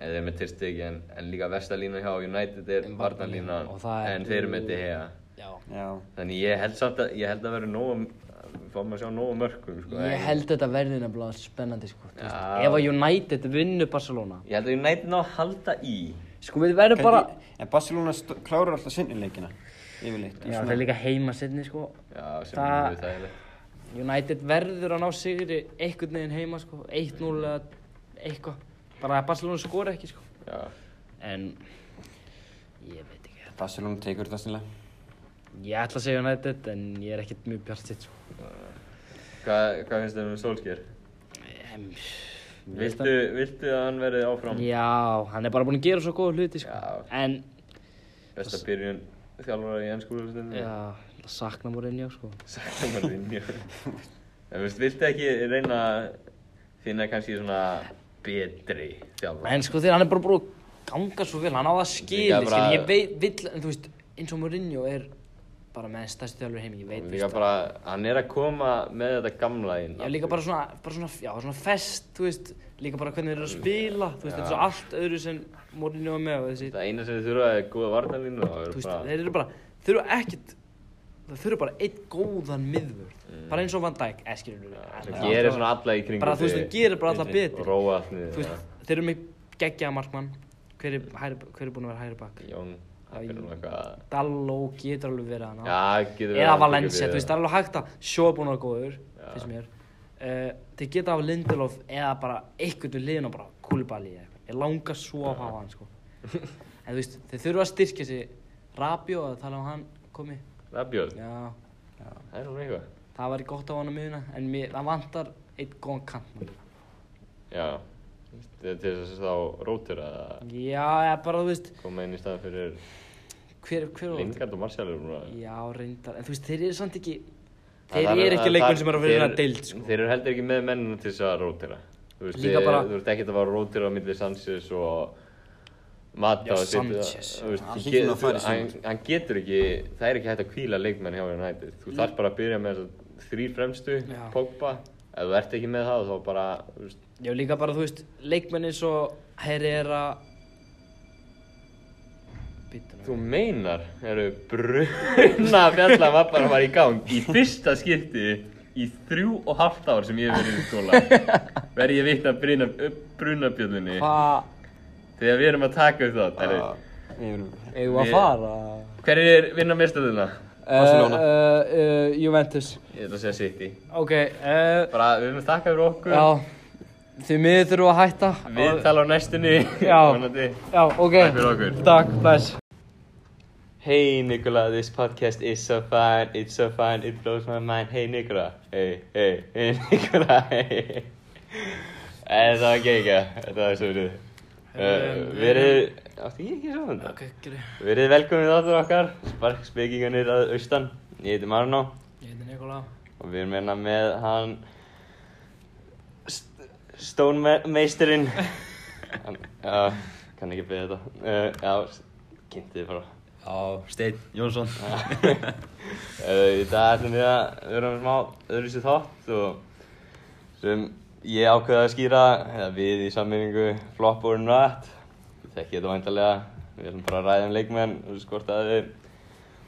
[SPEAKER 1] en þeir eru með Tyrstig en, en líka versta lína hjá United er varnarlínan
[SPEAKER 2] og það er-
[SPEAKER 1] en þeir eru með De Gea
[SPEAKER 7] Já.
[SPEAKER 4] Já,
[SPEAKER 1] Þannig ég held samt að, ég held að vera nóg, við fáum að sjá nóg af mörgum, sko.
[SPEAKER 2] Ég held þetta verði nefnilega spennandi sko. þú veist.
[SPEAKER 1] Já.
[SPEAKER 2] Ef að United vinnur Barcelona
[SPEAKER 1] Ég held að ég nætti ná að halda í.
[SPEAKER 2] Sko við verðum bara
[SPEAKER 4] Kannski- En Barcelona st- klárar alltaf sinnileikina Yfirleitt
[SPEAKER 2] Já, það er líka heima setni sko
[SPEAKER 1] Já, sem Þa...
[SPEAKER 2] Það-
[SPEAKER 1] er mjög þægilegt.
[SPEAKER 2] United verður að ná sigri einhvern veginn heima sko 1-0 eða eitthvað Bara að Barcelona skora ekki sko
[SPEAKER 1] Já.
[SPEAKER 2] En Ég veit ekki
[SPEAKER 4] Barcelona tekur þetta sinnilega
[SPEAKER 2] Ég ætla að segja United en ég er ekkert mjög bjart sitt sko
[SPEAKER 1] Hvað, hvað finnst þér um Solskjær?
[SPEAKER 2] Em,
[SPEAKER 1] Viltu, viltu að hann verði áfram?
[SPEAKER 2] Já, hann er bara búinn að gera svo góða hluti sko
[SPEAKER 1] Já.
[SPEAKER 2] En
[SPEAKER 1] Besta byrjun þjálfara í ennsku úrstundinu. [laughs]
[SPEAKER 2] Já, það sakna múrinn já sko
[SPEAKER 1] Sættum að vinja. En veist, viltu ekki reyna að finna kannski svona betri þjálfara?
[SPEAKER 2] En sko þegar hann er bara búinn að ganga svo vel, hann á það skili,
[SPEAKER 1] Líka bara-
[SPEAKER 2] skili, ég veit, vill, en þú veist, eins og Mourinho er bara með stærsti þjálfur í heimi, ég veit, þú
[SPEAKER 1] Líka
[SPEAKER 2] veist,
[SPEAKER 1] bara, hann er að koma með þetta gamla inn.
[SPEAKER 2] já líka bara svona, bara svona, já svona fest, þú veist, líka bara hvernig þeir eru að spila, þú veist, þetta er svo allt öðru sem Mourinho er með og þessi,
[SPEAKER 1] Það eina sem þið þurfa er góða varnalínu og það verður
[SPEAKER 2] þú veist,
[SPEAKER 1] bara...
[SPEAKER 2] þeir eru bara, þeir eru ekkert, það þurfa bara einn góðan miðvörð,
[SPEAKER 1] Mm.
[SPEAKER 2] bara eins og Van Dijk, eh, eskirur,
[SPEAKER 1] Sem gerir svona alla í kringum
[SPEAKER 2] bara þú veist, þú gerir bara alla
[SPEAKER 4] betri.
[SPEAKER 1] og
[SPEAKER 2] betur,
[SPEAKER 1] róa allt niður.
[SPEAKER 2] þú veist, þeir eru með geggjaða markmann, hver er, hægri- hver er búin að vera hægri bak?
[SPEAKER 1] Jón, það fyrir nú eitthvað...
[SPEAKER 2] Dalló getur alveg verið hana
[SPEAKER 1] Já, getur verið
[SPEAKER 2] eða
[SPEAKER 1] að hann
[SPEAKER 2] Valencia, þú
[SPEAKER 1] tekur við
[SPEAKER 2] veist, það er alveg hægt að sjóa búin að vera góður finnst mér uh, þeir geta af Lindelof eða bara eitthvað við liðin og bara kúlibali eða eitthvað ég langar svo að hafa hann sko en þú veist, þeir þurfa að styrkja sig Rabio, að tala um hann komi
[SPEAKER 1] Rabjörn,
[SPEAKER 2] já,
[SPEAKER 1] það er hún eitthvað.
[SPEAKER 2] það væri gott á hann að miðuna en mér, það vantar eitt góðan kantmann
[SPEAKER 1] Já, þú veist, til til þess að þá rótur að
[SPEAKER 2] já, eða bara þú veist
[SPEAKER 1] koma inn í stað fyrir
[SPEAKER 2] hver, hver var
[SPEAKER 1] Lingard og Martial eru núna.
[SPEAKER 2] já, reyndar, en þú veist, þeir eru samt ekki
[SPEAKER 1] Það-
[SPEAKER 2] þeir
[SPEAKER 1] það-
[SPEAKER 2] eru ekki
[SPEAKER 1] það-
[SPEAKER 2] leikmenn
[SPEAKER 1] það-
[SPEAKER 2] sem eru að
[SPEAKER 1] þeir
[SPEAKER 2] vera að deild sko.
[SPEAKER 1] Þeir eru heldur ekki með mennina til þess að rótira Þú veist,
[SPEAKER 2] Líka
[SPEAKER 1] þið-
[SPEAKER 2] bara-
[SPEAKER 1] þú ert ekki að fara að rótira á milli Sanchez og Mata
[SPEAKER 2] Já,
[SPEAKER 1] og sitt-
[SPEAKER 2] Sanchez.
[SPEAKER 1] þú veist,
[SPEAKER 4] Hann
[SPEAKER 1] þú
[SPEAKER 4] hlýtur nú að fara
[SPEAKER 1] getur-
[SPEAKER 4] í
[SPEAKER 1] Hann
[SPEAKER 4] sumar.
[SPEAKER 1] hann getur ekki, það er ekki hægt að kvíla leikmenn hjá hérna hættið Þú þarf bara að byrja með þess þrýr fremstu,
[SPEAKER 2] Já.
[SPEAKER 1] Pogba Ef þú ert ekki með það þá bara, þú veist,
[SPEAKER 2] Já, líka bara, þú veist, leikmenn eins og Herrera Býttu nú
[SPEAKER 1] þú meinar, eru bruna fjallan var bara að fara í gang Í fyrsta skipti í þrjú og halvt ár sem ég hef verið í skóla Verði ég vitna að bruna bjöllunni
[SPEAKER 2] Hvað
[SPEAKER 1] Þegar við erum að taka upp það, Elvi.
[SPEAKER 2] Ah. eigum
[SPEAKER 1] Við-
[SPEAKER 2] að fara?
[SPEAKER 1] Hverjir vinna mestöðuna?
[SPEAKER 4] Barcelona.
[SPEAKER 2] Uh, uh, uh, Juventus
[SPEAKER 1] Ég ætla að segja City.
[SPEAKER 2] Ok, uh,
[SPEAKER 1] Bara, við erum að taka fyrir okkur.
[SPEAKER 2] já Þið miður þurfum að hætta
[SPEAKER 1] Við tala á næstunni.
[SPEAKER 2] Já.
[SPEAKER 1] Vonandi.
[SPEAKER 2] Já, ok
[SPEAKER 1] Takk fyrir okkur.
[SPEAKER 2] Takk, bless
[SPEAKER 1] Hey Nicola, this podcast is so fun, it's so fun, it blows my mind. Hey Nicola, hey, hey, hey [laughs] Nicola, hey. En það var ekki ekki, þetta var svo verið. Uh, verið, átti ég ekki svo þetta?
[SPEAKER 7] Ok, gerði.
[SPEAKER 1] Verið velkomin þáttur okkar, sparkspekinganir að austan. Ég heiti Marno.
[SPEAKER 7] Ég heiti Nikola.
[SPEAKER 1] og við erum hérna með hann st stónmeisterinn hann, já, kann ekki beðið þetta uh, já, s- kynnti þið bara
[SPEAKER 8] Já, Steinn Jónsson
[SPEAKER 1] uh, í dag ætlum við að vera með smá öðruvísi þátt og sem ég ákveði að skýra eða við í sammenningu flop or not ég þekki þetta væntalega við erum bara að ræða um leikmenn og þú skort að þeir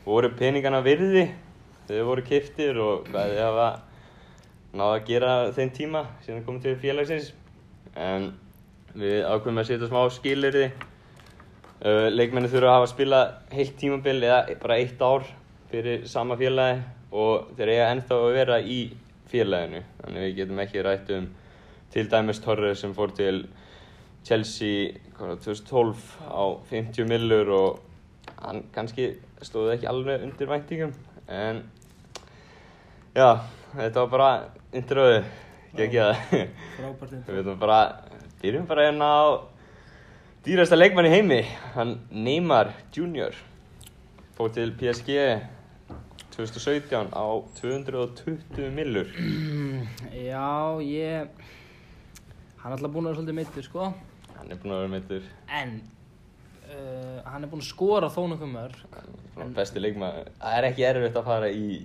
[SPEAKER 1] voru peningana virði þegar þeir voru kiftir og hvað þeir hafa náða að gera á þeim tíma síðan komið til félagsins en við ákveðum að setja smá skilirði uh, leikmenni þurfa að hafa að spila heilt tímabil eða bara eitt ár fyrir sama félagi og þeir eiga ennþá að vera í félaginu þannig við getum ekki rætt um til dæmis Torres sem fór til Chelsea hvað, var það, 2012 á 50 millur og hann kannski stóði ekki alveg undir væntingum en Já, þetta var bara introðu, gekkja það.
[SPEAKER 9] Frábært intro.
[SPEAKER 1] Við veitum bara, byrjum bara hérna á dýrasta leikmann í heimi, hann Neymar Junior. Fór til PSG 2017 á 220 millur.
[SPEAKER 2] Já, ég Hann er alltaf búinn að vera svolítið meittur, sko
[SPEAKER 1] Hann er búinn að vera meittur,
[SPEAKER 2] En uh, Hann er búinn að skora þó nokkuð mörg
[SPEAKER 1] svona besti leikmann. Það er ekki erfitt að fara í,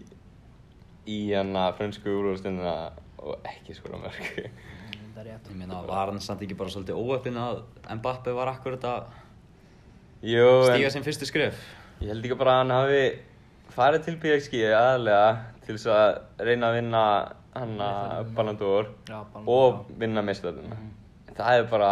[SPEAKER 1] í hérna frönsku úrvalstundina og ekki skora mörg.
[SPEAKER 2] Það er rétt
[SPEAKER 8] Ég meina, var hann samt ekki bara svolítið óöppin að Mbappe var akkurat að
[SPEAKER 1] [laughs] Jú,
[SPEAKER 8] stíga sinn fyrstu skref
[SPEAKER 1] Ég held ekki bara að hann hafi farið til PSG aðalega til þess að reyna að vinna hann að Ballon d'Or
[SPEAKER 10] Já, Ballon d'Or,
[SPEAKER 1] og vinna meistarinn. Það er bara,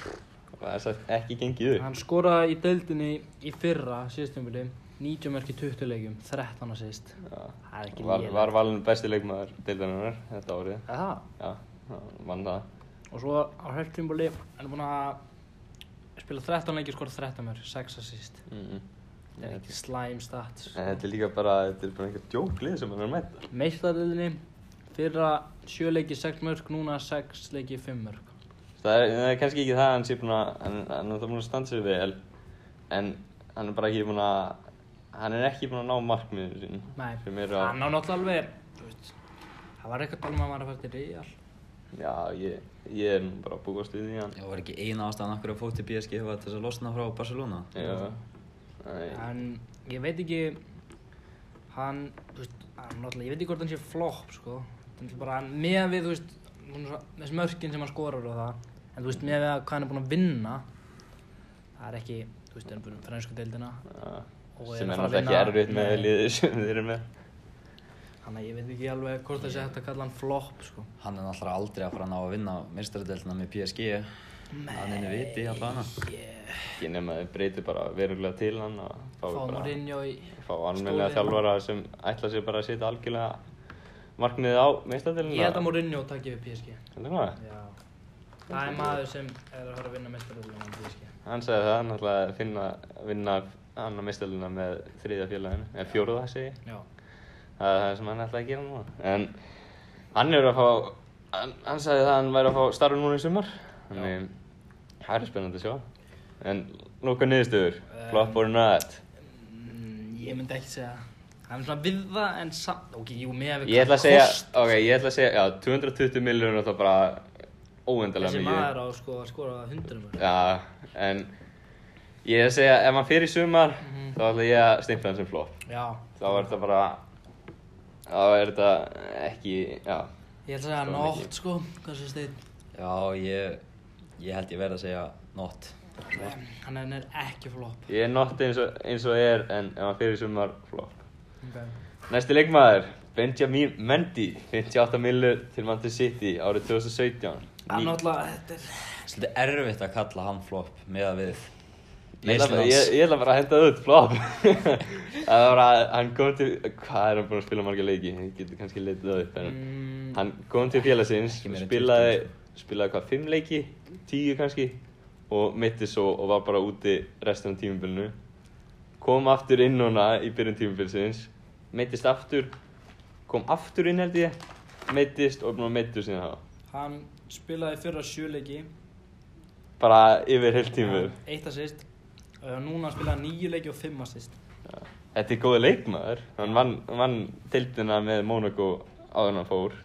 [SPEAKER 1] pff, það er sagt, ekki gengið upp.
[SPEAKER 2] Hann skoraði í deildinni í fyrra síðustjömbili 90 mörki 20 leikjum, 13 að síðust Það er ekki
[SPEAKER 1] Var,
[SPEAKER 2] lélegt.
[SPEAKER 1] var valin besti leikmaður deildarinnar þetta árið.
[SPEAKER 2] Er Það.
[SPEAKER 1] Já, hann vann það.
[SPEAKER 2] Og svo á hölltjömbili hann er búinn að spila 13 leiki og skora 13 mörg, 6 að síðust
[SPEAKER 1] Mm
[SPEAKER 2] Það er ekki slæm stats
[SPEAKER 1] En þetta er líka bara, þetta er bara einhver djóklið sem hann er að mæta.
[SPEAKER 2] Meistariðinni fyrra 7 leiki 6 mörg, núna 6 leiki 5 mörg
[SPEAKER 1] Það er, það er kannski ekki það að hann sé búin að, hann, hann er það búin að standa sér vel, en hann er bara ekki búin að, hann er ekki búin að ná markmiðinu sín.
[SPEAKER 2] Nei,
[SPEAKER 1] Sem eru
[SPEAKER 2] hann
[SPEAKER 1] að,
[SPEAKER 2] á náttúrulega alveg þú veist, Það var eitthvað tólum að hann var að fara til Real
[SPEAKER 1] já, ég, ég er nú bara að búast við því hann.
[SPEAKER 8] Það var ekki eina ástæðan okkur að fótt í PSG var til þess að losna frá Barcelona.
[SPEAKER 1] Já, nei,
[SPEAKER 2] En ég veit ekki hann, þú veist, hann náttúrulega, ég veit ekki hvort hann sé flop, sko þannig bara með við, þú veist, svona svo- þessi mörkin sem hann skorar og það en þú veist, með við að hvað hann er búinn að vinna það er ekki, þú veist, hann er búinn að fransku deildina
[SPEAKER 1] já.
[SPEAKER 2] Og
[SPEAKER 1] Sem
[SPEAKER 2] er
[SPEAKER 1] er
[SPEAKER 2] að fara að
[SPEAKER 1] náttúrulega ekki
[SPEAKER 2] vinna-
[SPEAKER 1] erfitt með
[SPEAKER 2] Nei.
[SPEAKER 1] liðið sem þeir eru með.
[SPEAKER 2] þannig að ég veit ekki alveg hvort það sé hægt að kalla hann flop, sko
[SPEAKER 8] Hann er náttúrulega aldrei að fara að ná að vinna meistaradeildina með PSG. Nei. Hann er viti allan að.
[SPEAKER 1] Ég nefn að þeir breyti bara verulega til hann og fái
[SPEAKER 2] fá
[SPEAKER 1] bara,
[SPEAKER 2] Mourinho í
[SPEAKER 1] fá almennilega
[SPEAKER 2] stólinn.
[SPEAKER 1] þjálfara sem ætla sér bara að setja algjörlega markmiðið á meistadilina.
[SPEAKER 2] ég held að Mourinho takki við PSG
[SPEAKER 1] Heldur maður?
[SPEAKER 2] já það er maður sem er að fara að vinna mestaröldina með PSG
[SPEAKER 1] Hann sagði það, hann ætlaði að finna, vinna hann á mistalina með þriðja félaginu, eða fjóruða segi ég.
[SPEAKER 2] já
[SPEAKER 1] Það er það sem hann ætlaði að gera núna. En hann er að fá, hann, hann sagði það að hann væri að fá starf núna í sumar. Þannig, það er spennandi að sjá. En lóka niðurstöður, flop or not.
[SPEAKER 2] Mm, ég myndi ekki segja hann er svona við það en samt ok, jú, með að við
[SPEAKER 1] Ég ætla að segja, ok, ég ætla að segja, já, 220 miljónur þá bara óendalega
[SPEAKER 2] þessi
[SPEAKER 1] mikið.
[SPEAKER 2] maður á sko að skora 100 mörg
[SPEAKER 1] Já, en ég er að segja, ef hann fyrir sumar,
[SPEAKER 2] Mhm.
[SPEAKER 1] þá ætla ég að stimpla hann sem flop.
[SPEAKER 2] já,
[SPEAKER 1] þá er þetta bara þá er þetta ekki já,
[SPEAKER 2] ég ætla að
[SPEAKER 1] Svona
[SPEAKER 2] segja
[SPEAKER 1] mikið.
[SPEAKER 2] nótt sko hvað sem stein
[SPEAKER 8] Já, ég, ég held ég verð að segja not.
[SPEAKER 2] hann er- hann er ekki flop
[SPEAKER 1] ég er nott eins og, eins og er en ef hann fyrir sumar flop
[SPEAKER 2] okay.
[SPEAKER 1] næsti leikmaður Benjamin Mendy 58 millur til Manchester City árið 2017 Ný-
[SPEAKER 2] hann náttúrulega þetta er
[SPEAKER 8] Svolítið erfitt að kalla hann flop með að við.
[SPEAKER 1] Ég ætla bara-
[SPEAKER 8] Meistarans.
[SPEAKER 1] ég- ég ætla bara að henda það út flop [laughs] það var að hann kom til hvað er hann búinn að spila marga leiki ég getur kannski leitið það upp en hann kom til félagsins
[SPEAKER 8] Mm. Ekki meira en
[SPEAKER 1] spilaði
[SPEAKER 8] 20,
[SPEAKER 1] spilaði hvað fimm leiki tíu kannski og mitti svo og var bara úti restan af tímubilinu kom aftur inn núna í byrjun tímubilsins mittist aftur kom aftur inn held ég mittist og er búinn að mittu síðan þá
[SPEAKER 2] hann spilaði fyrra sjöleiki
[SPEAKER 1] bara yfir heilt tímur
[SPEAKER 2] eitt að sýst núna spilaði hann níu leiki og fimm að sýst
[SPEAKER 1] Þetta er góði leikmaður, hann vann, vann tildina með Monaco áður en hann fór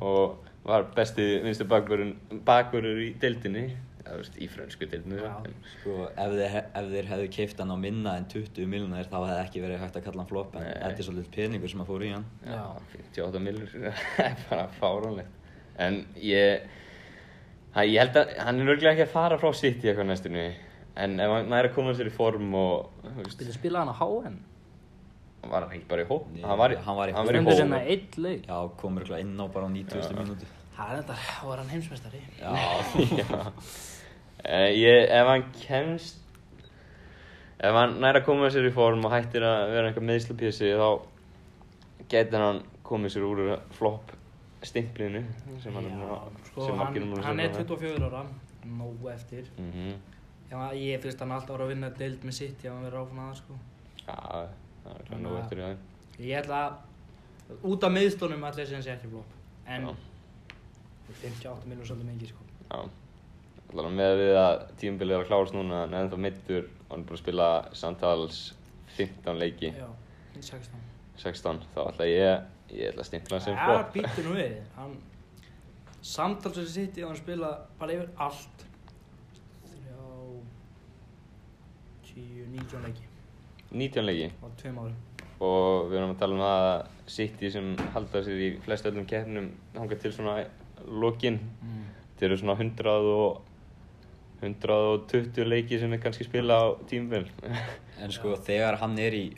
[SPEAKER 1] og var besti vinstu bakverður í tildinni, það veist, í frönsku tildinni.
[SPEAKER 2] Já.
[SPEAKER 8] Sko, ef þeir, ef þeir hefðu keift hann á minna en 20 miljonir þá hefði ekki verið hægt að kalla hann flop en
[SPEAKER 1] Nei.
[SPEAKER 8] þetta er svolítið peningur sem að fóru í hann.
[SPEAKER 1] Já, 58 millur, [laughs] það er bara fáránlegt. En ég, hæ, ég held að hann er örglega ekki að fara frá sitt í eitthvað næstunni, en ef hann næri að koma sér í form og, þú veist,
[SPEAKER 2] spilaði spilaði hann á HN
[SPEAKER 1] var hann ekki bara í hóp?
[SPEAKER 8] Nei,
[SPEAKER 1] Hann var í,
[SPEAKER 8] hann var í
[SPEAKER 1] hann var í
[SPEAKER 2] stendur sem
[SPEAKER 1] hóp.
[SPEAKER 2] það eitt leik
[SPEAKER 8] Já, komur ekki inn á bara á 90. mínútu.
[SPEAKER 2] það er þetta þá er hann heimsmeistari
[SPEAKER 8] Já,
[SPEAKER 1] Já, [laughs] Eh, ég, ef hann kemst ef hann næra að koma sér í form og hættir að vera eitthvað meðslupjössi þá getur hann komið sér úr flop stimplinu sem hann er búinn að-
[SPEAKER 2] sko,
[SPEAKER 1] sem margir
[SPEAKER 2] hann,
[SPEAKER 1] núna
[SPEAKER 2] hann er 24 ára nóg eftir
[SPEAKER 1] mm -hmm.
[SPEAKER 2] Já, ég finnst hann alltaf að vera að vinna deild með sitt ef hann verður áfram aða sko.
[SPEAKER 1] Já, það er hann nú eftir í það
[SPEAKER 2] Ég ætla að út af miðstónum ætla ég að segja hann sé ekki flop. En
[SPEAKER 1] Já.
[SPEAKER 2] 58 minnur svolítið mikið sko.
[SPEAKER 1] Já, allavega með að við að tímabilið er að klárast núna en ennþá mittur og hann er búinn að spila samtals 15 leiki,
[SPEAKER 2] Já, 16.
[SPEAKER 1] 16 þá ætla ég, ég ætla að stimpla hann sem
[SPEAKER 2] Það
[SPEAKER 1] flop
[SPEAKER 2] býtur nú við. Hann, samtals sem sitt ef hann spila bara yfir allt. 3, 10, 19 leiki
[SPEAKER 1] 19 leiki
[SPEAKER 2] á tveim árum.
[SPEAKER 1] og við erum að tala um það að City sem halda sér í flest öllum keppnum hanga til svona lokin þeir eru svona 100 og 120 leiki sem er kannski spila á tímvel
[SPEAKER 8] en sko þegar hann er í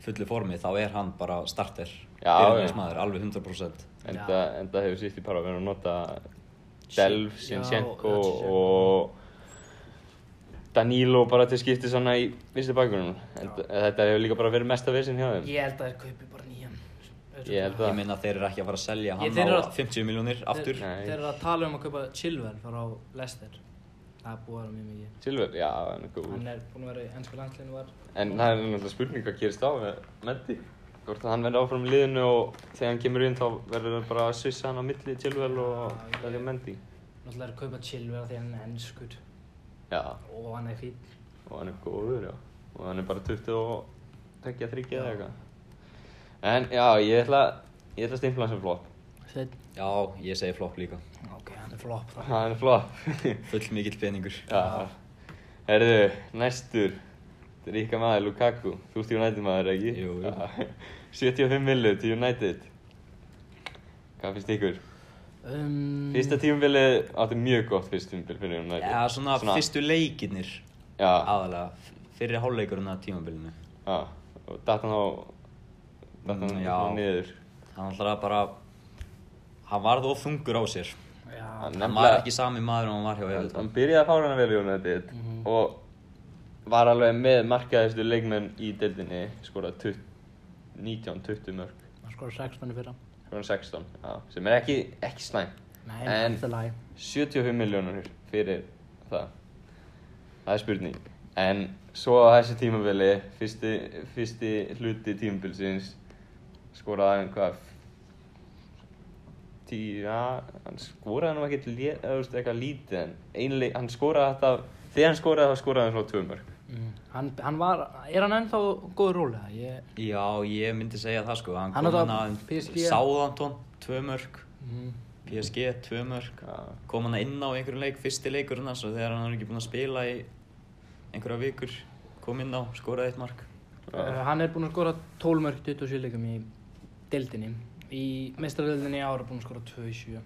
[SPEAKER 8] fullu formi þá er hann bara starter
[SPEAKER 1] Já,
[SPEAKER 8] byrjunarsmaður, alveg 100%
[SPEAKER 1] [laughs] Enda, enda hefur sýtti bara verið að nota Delf, Sinchenko
[SPEAKER 11] Zinchenko.
[SPEAKER 1] og Danilo bara til skiptis hann í vinstri bakgrunum. Þetta hefur líka bara verið mesta vesinn hjá þeim.
[SPEAKER 2] Ég held að þeir kaupi bara nýjan.
[SPEAKER 1] Ég held
[SPEAKER 8] ég
[SPEAKER 1] að,
[SPEAKER 8] meina þeir eru ekki að fara að selja
[SPEAKER 2] Ég-
[SPEAKER 8] hann
[SPEAKER 2] þeir eru
[SPEAKER 8] á
[SPEAKER 2] að-
[SPEAKER 8] 50 miljónir aftur
[SPEAKER 1] Nei.
[SPEAKER 2] Þeir eru að tala um að kaupa Chilwell frá Leicester. Það er búið að vera mjög mikið.
[SPEAKER 1] Silver, já, hann er góð.
[SPEAKER 2] Hann er búinn að vera í ennsku landsliðinu var.
[SPEAKER 1] En það er náttúrulega spurning hvað gerist á með Mendy. Hvort að hann verður áfram í liðinu og þegar hann kemur inn þá verður hann bara að svissa hann á milli Silver og
[SPEAKER 2] Já,
[SPEAKER 1] verður Mendy.
[SPEAKER 2] Náttúrulega er að kaupa Chilwell því hann er ennskur.
[SPEAKER 1] Já,
[SPEAKER 2] Og hann er fín.
[SPEAKER 1] og hann er góður, já. Og hann er bara 20 og tekja þryggja eða eitthvað. En já, ég ætla, ég ætla að stimpla hans sem flop. [laughs]
[SPEAKER 2] Sveinn.
[SPEAKER 8] já, ég segi flop líka
[SPEAKER 2] Ok, hann er flop þá.
[SPEAKER 1] Það er flop. [laughs]
[SPEAKER 8] full mikill peningur
[SPEAKER 1] Já, herðu, næstur Ríka maður, Lukaku Þú ert United maður, ekki?
[SPEAKER 8] Jú, jú.
[SPEAKER 1] Já. [laughs] 75 millu til United Hvað finnst ykkur?
[SPEAKER 2] Um,
[SPEAKER 1] Fyrsta tímabilið átti mjög gott fyrst tímabil fyrir United
[SPEAKER 8] já, svona, fyrstu leikinnir
[SPEAKER 1] Já,
[SPEAKER 8] aðalega, f- fyrri hálfleikurinn að tímabilinu
[SPEAKER 1] já Og datt hann á Datt hann mm,
[SPEAKER 8] Mm, já.
[SPEAKER 1] niður
[SPEAKER 8] hann alltaf bara hann varð of þungur á sér
[SPEAKER 2] Já,
[SPEAKER 1] Hann
[SPEAKER 8] hann var ekki sami maður en hann var hjá
[SPEAKER 1] Hann
[SPEAKER 8] Everton
[SPEAKER 1] hann byrjaði að fára hann vel í United
[SPEAKER 8] Mhm.
[SPEAKER 1] og var alveg með markaðistu leikmenn í deildinni skoraði 19-20 mörg
[SPEAKER 2] hann skora 16 í fyrra.
[SPEAKER 1] Skoran 16, já, sem er ekki, ekki slæm.
[SPEAKER 2] Nei,
[SPEAKER 1] En-
[SPEAKER 2] þetta er lagi.
[SPEAKER 1] 75 miljónur fyrir það. Það er spurning. En svo á þessi tímabili, fyrsti, fyrsti hluti tímabilsins, skoraði hann hvað, tíu, já, hann skoraði nú ekkert, lé- eða, þú veist, eitthvað lítið, en einlega, hann skoraði þetta, þegar hann skoraði það skoraði hann svona tvö mörg.
[SPEAKER 2] Mm. Hann, hann var, er hann ennþá góður róli? Ég,
[SPEAKER 8] Já, ég myndi segja það sko, hann,
[SPEAKER 2] Hann
[SPEAKER 8] kom
[SPEAKER 2] átti
[SPEAKER 8] hann
[SPEAKER 2] að
[SPEAKER 8] að
[SPEAKER 2] PSG.
[SPEAKER 8] Sáðanton, tvö mörg,
[SPEAKER 2] mm.
[SPEAKER 8] PSG, tvö mörg,
[SPEAKER 1] Já,
[SPEAKER 8] kom hann inn á einhverjum leik, fyrsti leikur hann svo þegar hann er ekki búinn að spila í einhverja vikur, kom inn á, skoraði eitt mark.
[SPEAKER 2] uh, hann er búinn að skora 12 mörg 27 leikum í deildinni. Í mestrardeildinni í ár er búinn að skora 2 í 7.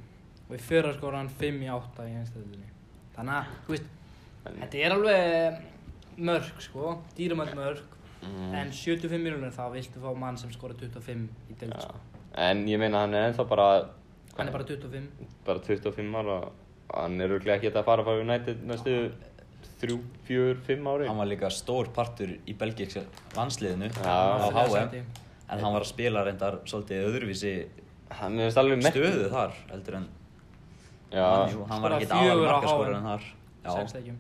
[SPEAKER 2] Og í fyrra skora hann 5 í 8 í einstæðdeildinni. Þannig að, þú veist, þetta er alveg mörg sko, dýramöld mörg.
[SPEAKER 1] Mm.
[SPEAKER 2] En 75 miljonir þá viltu fá mann sem skora 25 í deild
[SPEAKER 1] já.
[SPEAKER 2] sko.
[SPEAKER 1] En ég meina hann er ennþá bara,
[SPEAKER 2] Hann er bara 25.
[SPEAKER 1] bara 25 ára og hann er örglega ekki að fara að fara United næstu 3, 4, 5 ári.
[SPEAKER 8] Hann var líka stór partur í belgíksa landsliðinu
[SPEAKER 1] Já.
[SPEAKER 8] á
[SPEAKER 2] Þriðja
[SPEAKER 8] HM,
[SPEAKER 2] sæti.
[SPEAKER 8] en hann var að spila reyndar svolítið öðruvísi
[SPEAKER 1] Hann er alveg mett.
[SPEAKER 8] stöðu þar, heldur en
[SPEAKER 1] Já,
[SPEAKER 8] hann, hann var
[SPEAKER 2] Skoraði
[SPEAKER 8] ekkert aðal
[SPEAKER 2] fjögur á
[SPEAKER 8] markaskórar
[SPEAKER 2] HM.
[SPEAKER 8] en þar.
[SPEAKER 2] 6
[SPEAKER 8] Já,
[SPEAKER 2] leikum.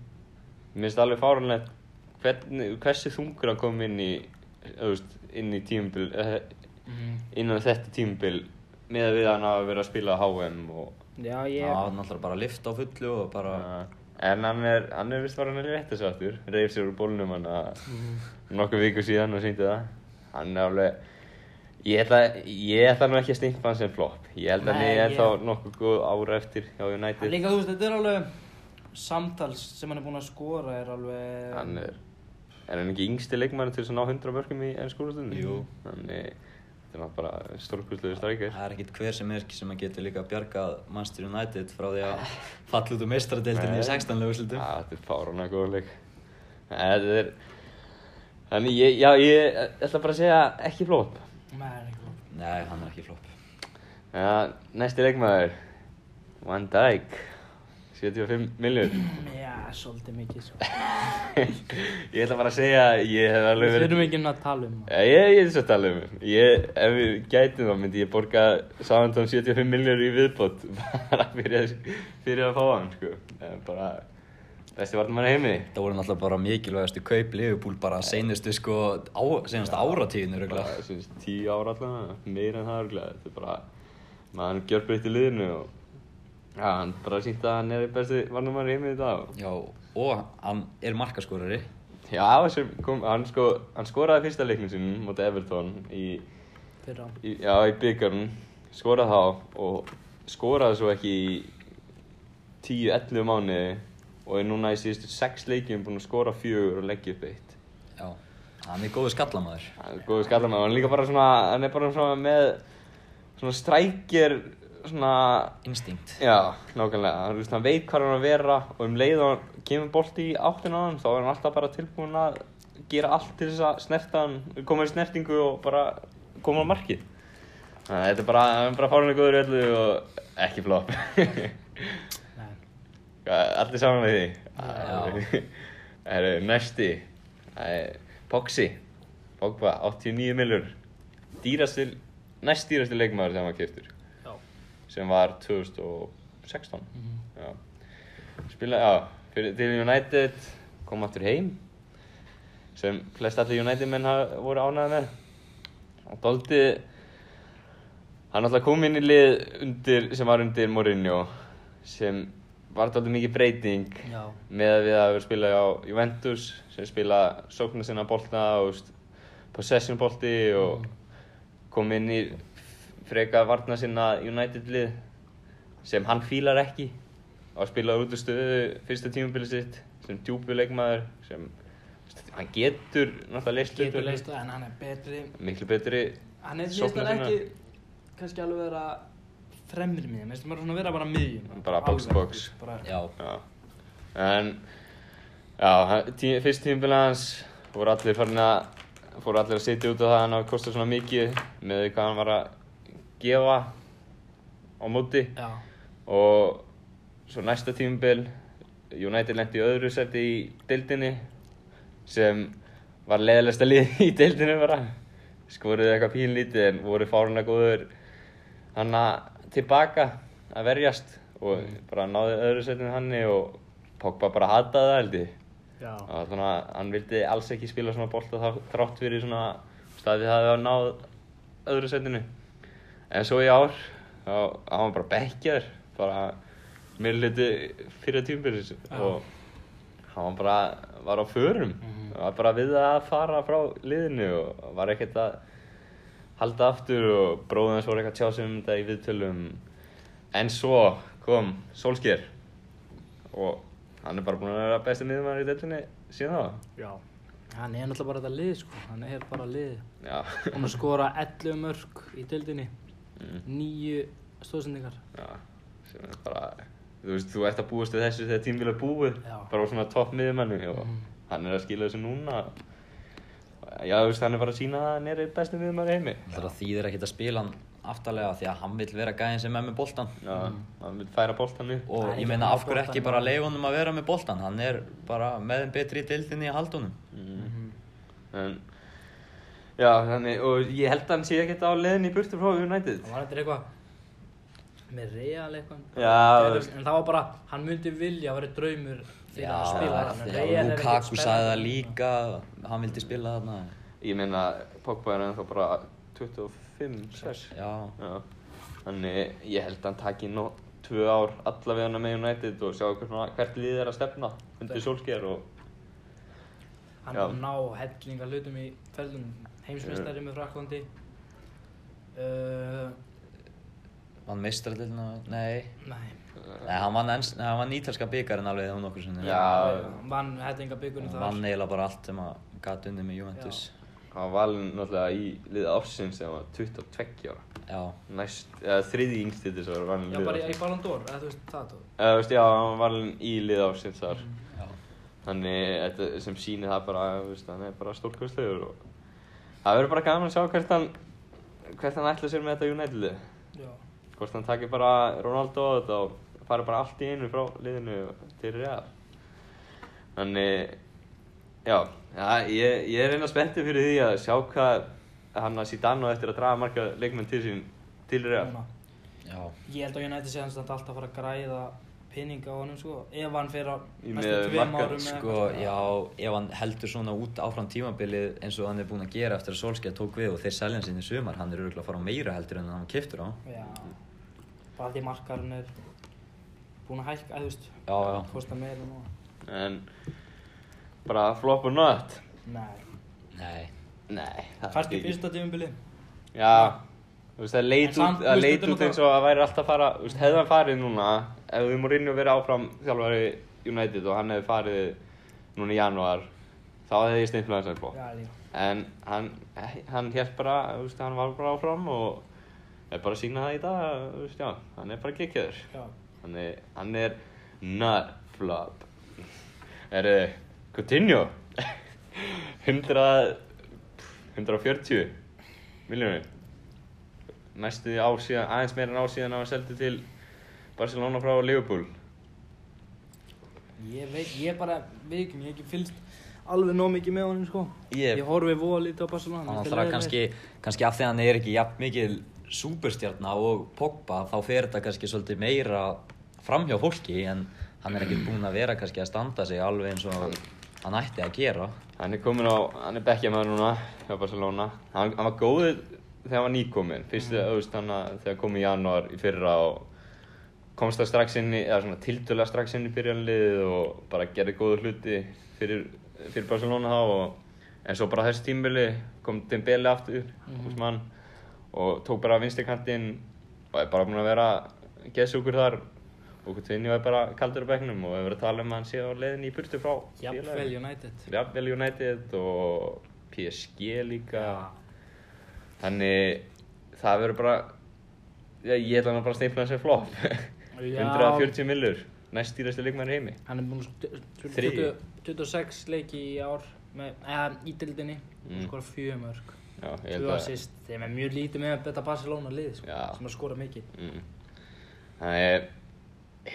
[SPEAKER 1] mér finnst alveg fárunlegt hvernig, hversi þungur að koma inn í, þú veist, inn í tímabil, eh,
[SPEAKER 2] Mhm.
[SPEAKER 1] innan þetta tímabil með að við hann að vera að spila á HM og, Eh,
[SPEAKER 2] Já, ég...
[SPEAKER 8] hann var náttúrulega bara lift á fullu og bara...
[SPEAKER 1] en hann er, hann er vist var hann er rétt þessu aftur, reyf sér úr bólnum hann að
[SPEAKER 2] Mhm.
[SPEAKER 1] nokkuð viku síðan og síndi það, hann er alveg, ég ætla, ég ætla nú ekki að stimpa hann sem flop, ég held að hann
[SPEAKER 2] Nei,
[SPEAKER 1] er
[SPEAKER 2] ég-
[SPEAKER 1] þá nokkuð góð ára eftir hjá United,
[SPEAKER 2] En líka þú veist, þetta er alveg samtals sem hann er búinn að skora er alveg
[SPEAKER 1] hann er er hann ekki yngsti leikmæri til þess að ná 100 mörgum í enn skólastunni?
[SPEAKER 8] Jú.
[SPEAKER 1] Þannig, þetta er náttúrulega bara stórkustluðu strækir.
[SPEAKER 8] Það er ekkert hver sem er sem að getur líka að bjarga Manchester United frá því að falla út úr meistradeildinni í
[SPEAKER 1] Nei.
[SPEAKER 8] 16 löguslutum.
[SPEAKER 1] Þetta er fárana góð leik. Þetta er, þannig ég, já, ég ætla bara að segja ekki flóp.
[SPEAKER 2] Nei, hann er ekki flott.
[SPEAKER 8] Nei, hann er ekki flop.
[SPEAKER 1] Já, næsti leikmæður, Van Dijk, 75 miljón.
[SPEAKER 2] Já, svolítið mikið sko.
[SPEAKER 1] ég ætla bara að segja, að ég hef alveg
[SPEAKER 2] Við
[SPEAKER 1] verið... Eh.
[SPEAKER 2] þurfum ekki um að tala um það
[SPEAKER 1] Já, Ég, ég er svo að tala um ég, Ef við gætum þá myndi ég borga Samantón 75 miljónur í viðbót [laughs] bara fyrir, að- fyrir að fá hann sko. En bara besti varnum hann heimi
[SPEAKER 8] Það voru náttúrulega bara mikilvægastu kaup Liverpool bara seinustu sko, á, seinustu áratíðinu reglulega.
[SPEAKER 1] bara, syns, 10 ára allan meira en það örglega þetta er bara maður gjör breytti liðinu og já, hann bara sýnt að hann er besti varnum hann heimi í dag og-
[SPEAKER 8] Já, og hann er markaskorari.
[SPEAKER 1] Já, sem kom, hann, sko, hann skoraði fyrsta leiknum sínum mot Everton í
[SPEAKER 2] fyrir á.
[SPEAKER 1] Í- Já, í byggarnum, skoraði þá og skoraði svo ekki í 10-11 mánuði og er núna í síðustu 6 leikjum búinn að skora fjögur og leggja upp eitt.
[SPEAKER 8] Já, hann er góðu skallamæður.
[SPEAKER 1] Það er góður skallamæður, hann er líka bara svona, hann er bara svona með svona strækjer, svona,
[SPEAKER 8] Instinkt.
[SPEAKER 1] já, nákvæmlega, hann, veist, hann veit hvað hann er að vera og um leið og hann kemur bolti í áttina á hann þá er hann alltaf bara tilbúinn að gera allt til þess að snerta hann, koma í snertingu og bara koma á markið. Þannig að þetta er bara, hann er bara fárinlega góður í öllu og ekki flop. [laughs] Hvað, Allir saman með því. [laughs] Það eru næsti, það er Poxi, Pogba, 89 millur, dýrastil, næst dýrastil leikmaður sem var keftur.
[SPEAKER 2] Já.
[SPEAKER 1] Sem var 2016. Já. Spilaði, já, fyrir, til United, kom aftur heim sem flest allir United menn hafa voru ánægði með og Doldi hann alltaf kom inn í lið undir, sem var undir Mourinho sem var alltaf mikið breyting
[SPEAKER 2] Já.
[SPEAKER 1] með að við að við spila á Juventus sem spila sókna sinna bolta og veist, possession bolti og kom inn í freka varna sinna United lið sem hann fílar ekki og spilaði út úr stöðu fyrsta tímabilið sitt sem djúpu leikmaður sem hann getur náttúrulega leist
[SPEAKER 2] Getur
[SPEAKER 1] hlutverk.
[SPEAKER 2] leist það, en hann er betri.
[SPEAKER 1] miklu betri
[SPEAKER 2] Hann er
[SPEAKER 1] Sóknar
[SPEAKER 2] sérstæðan
[SPEAKER 1] sinna.
[SPEAKER 2] ekki, kannski alveg vera fremri miðjum, veist, maður er svona að vera bara miðjum.
[SPEAKER 1] Bara box to
[SPEAKER 2] Alveg,
[SPEAKER 1] box.
[SPEAKER 2] þú veist, bara-
[SPEAKER 5] Já.
[SPEAKER 1] já. en já, hann- tí, fyrst tímabilið hans voru allir farin að fóru allir að sitja út á það að hann hafi kostað svona mikið með því hvað hann var að gefa á móti
[SPEAKER 2] Já.
[SPEAKER 1] og svo næsta tímubil United lendi í öðru seti í deildinni sem var leðilegsta lið í deildinni bara skoruðu eitthvað pínlítið en voru fáruna góður hann tilbaka að verjast og bara náði öðru setinu hanni og Pogba bara hataði það held ég
[SPEAKER 2] Já.
[SPEAKER 1] og svona, hann vildi alls ekki spila svona bolta þá þrátt fyrir svona staðið það að náð öðru setinu en svo í ár þá þá var hann bara bekkjar bara mér liti fyrir tímbilsins og hann var bara var á förum var bara við að fara frá liðinu og var ekkert að halda aftur og bróðum hans voru eitthvað að tjá sig um þetta í viðtölum en svo kom Solskjær og hann er bara búinn að vera besti miðjumæður í deltinni síðan
[SPEAKER 2] Já. Hann er náttúrulega bara þetta lið, sko. Hann er bara lið.
[SPEAKER 1] þá já,
[SPEAKER 2] Hún að skora 11 mörg í deildinni.
[SPEAKER 1] Mm.
[SPEAKER 2] Níu stóðsendingar.
[SPEAKER 1] já sem er bara þú veist, þú ert að búast við þessu þegar tímvila búið
[SPEAKER 2] Já.
[SPEAKER 1] bara á svona topp miðjumænu og hann er að skila þessu núna já, þú veist, hann er bara að sína að hann er einn besti miðjumæður í heimi
[SPEAKER 8] Það þýðir ekkert að spila hann aftarlega því að hann vill vera gæðin sem er með boltan
[SPEAKER 1] já, hann vil færa boltan upp
[SPEAKER 8] og ég meina af hverju ekki bara leiða honum að vera með boltan hann er bara með þeim betri í deildinni að halda honum
[SPEAKER 1] Mm. Mhm.
[SPEAKER 2] Mhm.
[SPEAKER 1] en já, þannig, og ég held að hann sé ekkert á leiðinni í burtu frá United
[SPEAKER 2] Það var þetta eitthvað með real eitthvað.
[SPEAKER 1] Já,
[SPEAKER 2] En
[SPEAKER 1] þú veist.
[SPEAKER 2] en það var bara, hann myndi vilja að vera draumur fyrir
[SPEAKER 8] Já,
[SPEAKER 2] að spila hann. en
[SPEAKER 8] já,
[SPEAKER 2] Real er ekkert
[SPEAKER 8] Lukaku sagði það
[SPEAKER 2] spennandi.
[SPEAKER 8] líka hann vildi spila þarna
[SPEAKER 1] Ég meina, Pogba er ennþá bara 25, 6.
[SPEAKER 8] Já,
[SPEAKER 1] Já. Þannig ég held að hann taki nú tvö ár allavega með United og sjá hvernig, hvert lið er að stefna undir solskjær og
[SPEAKER 2] Hann
[SPEAKER 1] Já.
[SPEAKER 2] var ná hellinga hlutum í ferðunum. Heimsmeistari með Fraklandi. Uh,
[SPEAKER 8] hann meistra til nei
[SPEAKER 2] nei,
[SPEAKER 8] Nei, hann vann, ens, nei, hann vann ítalska byggarinn alveg hún okkur sinni
[SPEAKER 1] Já.
[SPEAKER 2] hann vann hellinga byggunum
[SPEAKER 8] Hann
[SPEAKER 2] þar.
[SPEAKER 8] vann eiginlega bara allt sem að gata unni með Juventus
[SPEAKER 1] hann var valinn náttúrulega í liða ársins þegar hann var 22 ára.
[SPEAKER 8] Já,
[SPEAKER 1] Næst, eða þriði yngsti til þess að vera valinn í
[SPEAKER 2] Já,
[SPEAKER 1] liða
[SPEAKER 2] bara í- í
[SPEAKER 1] ársins.
[SPEAKER 2] Ballon d'Or, eða þú veist það þú.
[SPEAKER 1] Eða, þú veist, já, hann var valinn í liða ársins þar.
[SPEAKER 2] Mm,
[SPEAKER 8] já.
[SPEAKER 1] Þannig, þetta sem sýnir það bara, þú veist, hann er bara stórkvæmslegur og það verður bara gaman að sjá hvert hann, hvert hann ætla sér með þetta United lið.
[SPEAKER 2] Já.
[SPEAKER 1] hvort hann takir bara Ronaldo og þetta og fari bara allt í einu frá liðinu til Real þannig já, ja, ég, ég er einnig spenntið fyrir því að sjá hvað hann að Zidane á eftir að draga marga leikmenn til sín til Real
[SPEAKER 2] Núna.
[SPEAKER 8] já.
[SPEAKER 2] Ég held að United sé hans að alltaf fara að græða peninga á honum sko, ef hann fer á
[SPEAKER 1] Í
[SPEAKER 2] næstu
[SPEAKER 1] með
[SPEAKER 2] tveim
[SPEAKER 1] markað,
[SPEAKER 2] árum eða
[SPEAKER 8] Sko,
[SPEAKER 2] eitthvað,
[SPEAKER 8] já, ef hann heldur svona út áfram tímabilið eins og hann er búinn að gera eftir að Solskjaer tók við og þeir selja hann sinni í sumar, hann er auðvitað að fara á meira heldur en hann keftur á
[SPEAKER 2] Já, bara því markarinn er búinn að hækka, eða þú veist,
[SPEAKER 8] Já, já.
[SPEAKER 2] kosta meira nú.
[SPEAKER 1] en bara flop og nött
[SPEAKER 2] Nei,
[SPEAKER 8] Nei,
[SPEAKER 1] nei, það
[SPEAKER 2] kannski fyrsta tímumbili.
[SPEAKER 1] já, þú veist það
[SPEAKER 2] En
[SPEAKER 1] leit út,
[SPEAKER 2] samt, þú
[SPEAKER 1] það
[SPEAKER 2] veist,
[SPEAKER 1] leit
[SPEAKER 2] þetta er
[SPEAKER 1] út eins og að væri alltaf að fara þú veist, hefði hann farið núna ef við Mourinho verið áfram þjálfari United og hann hefði farið núna í janúar þá hefði ég stimplað hans að flop
[SPEAKER 2] Já, líka.
[SPEAKER 1] en hann, hann hélt bara, þú veist, hann var bara áfram og er bara að sína það í dag, þú veist, já, hann er bara gekkjöður.
[SPEAKER 2] Já.
[SPEAKER 1] Hann er, hann er not flop. Er þið, continue? 100 140 miljónir næstu því ár síðan, aðeins meira en ár síðan að hann seldi til Barcelona frá Liverpool
[SPEAKER 2] Ég veit, ég bara, við ekki, ég hef ekki fylgst alveg nóg mikið með honum, sko.
[SPEAKER 8] Ég-
[SPEAKER 2] Ég horfi voða lítið á Barcelona.
[SPEAKER 8] hann
[SPEAKER 2] mér finnst
[SPEAKER 8] alltaf
[SPEAKER 2] þeir leiðinlegir.
[SPEAKER 8] kannski, kannski af því að hann er ekki jafn mikið súperstjarna og Pogba þá fer þetta kannski svolítið meira framhjá fólki en hann er ekki búinn að vera kannski að standa sig alveg eins og hann ætti að gera
[SPEAKER 1] hann er komin á, hann er bekkjamaður núna hjá Barcelona, hann, hann var góður þegar hann var nýkominn, fyrst þegar, mm. hann að- þegar hann kom í janúar í fyrra og komst það strax inn í, eða svona tildulega strax inn í byrjanliðið og bara gerði góða hluti fyrir, fyrir Barcelona þá og en svo bara þessi tímbili kom Dembele aftur mm mann og tók bara vinstikantinn og er bara búinn að vera geðsúkur þar og Coutinho er bara kaldur á bekknum og hefur verið að tala um að hann sé á leiðinni í burtu frá félaginu.
[SPEAKER 2] Jafnvel United.
[SPEAKER 1] Jafnvel United og PSG líka Þannig það verður bara já, ég ætla hann að bara steifla þessi flop 140 millur næst stýrasti leikmæri heimi
[SPEAKER 2] Hann er búinn að stu- stu-
[SPEAKER 1] Þriðji.
[SPEAKER 2] 20 26 leiki í ár, með, eða í dildinni,
[SPEAKER 1] Mm.
[SPEAKER 2] mm. skora fjö mörg.
[SPEAKER 1] Já, ég held
[SPEAKER 2] Tvö
[SPEAKER 1] að
[SPEAKER 2] assist, þeim er mjög lítið með þetta Barcelona lið, sko,
[SPEAKER 1] Já.
[SPEAKER 2] sem að skora mikið.
[SPEAKER 1] mm. Þannig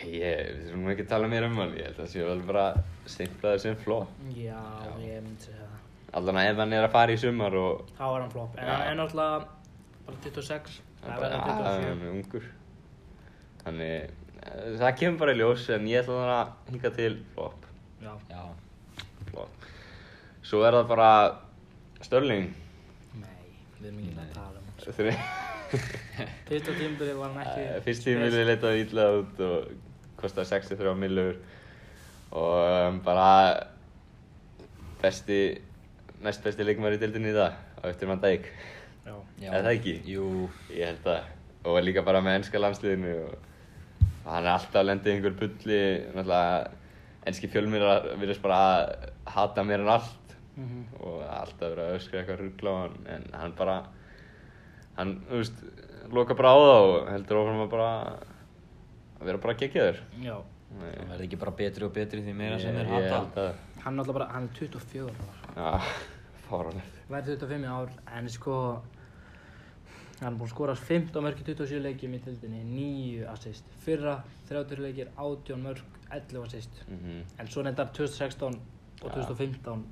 [SPEAKER 1] ég, við þurfum ekki að tala meira um hann ég held að sé vel bara steifla þessi flop
[SPEAKER 2] Já, ég myndi segja það.
[SPEAKER 1] Allan að ef hann er að fara í sumar og
[SPEAKER 2] Þá er hann flop, en
[SPEAKER 1] Já.
[SPEAKER 2] hann er náttúrulega bara 26, það verður
[SPEAKER 1] að-
[SPEAKER 2] 24.
[SPEAKER 1] "Ah, hann er ungur Þannig eh, það kemur bara í ljós en ég ætla hann að hinga til flop
[SPEAKER 2] Já,
[SPEAKER 8] Já,
[SPEAKER 1] Flott. Svo er það bara Störling
[SPEAKER 2] nei, við erum ekki að tala um það.
[SPEAKER 1] Þeir-
[SPEAKER 2] Fyrsta tímbili var hann
[SPEAKER 1] Eh, [laughs]
[SPEAKER 2] ekki...
[SPEAKER 1] Fyrst tímili leitaði illa út og kostaði 63 millur og um, bara besti, næst besti leikmæri í dildinni í dag á eftir mann dæk
[SPEAKER 2] Já.
[SPEAKER 8] já
[SPEAKER 1] Er það ekki?
[SPEAKER 8] Jú,
[SPEAKER 1] Ég held að, og líka bara með ennska landsliðinu og, og hann er alltaf lendið í einhver bulli, náttúrulega ennski fjölmýrar virðist bara að hata mér en allt
[SPEAKER 8] Mhm.
[SPEAKER 1] og alltaf verið að öskra eitthvað ruggla á hann en hann bara, hann, þú veist, loka bara á það og heldur áfram að bara, að vera bara geggjaður.
[SPEAKER 2] Já,
[SPEAKER 8] hann verði ekki bara betri og betri því meira sem
[SPEAKER 1] Ég-
[SPEAKER 8] er
[SPEAKER 1] Ég held
[SPEAKER 8] hata
[SPEAKER 1] að,
[SPEAKER 2] hann er náttúrulega bara, hann er 24 ára.
[SPEAKER 1] já, [laughs] fáránlegt.
[SPEAKER 2] Verður 25 í ár, en sko hann er búinn að skora 15 mörg í 27 leikjum í tildinni, 9 assist fyrra, 30 leikir, 18 mörg 11 assist,
[SPEAKER 1] Mhm.
[SPEAKER 2] en svo nefndar 2016 og 2015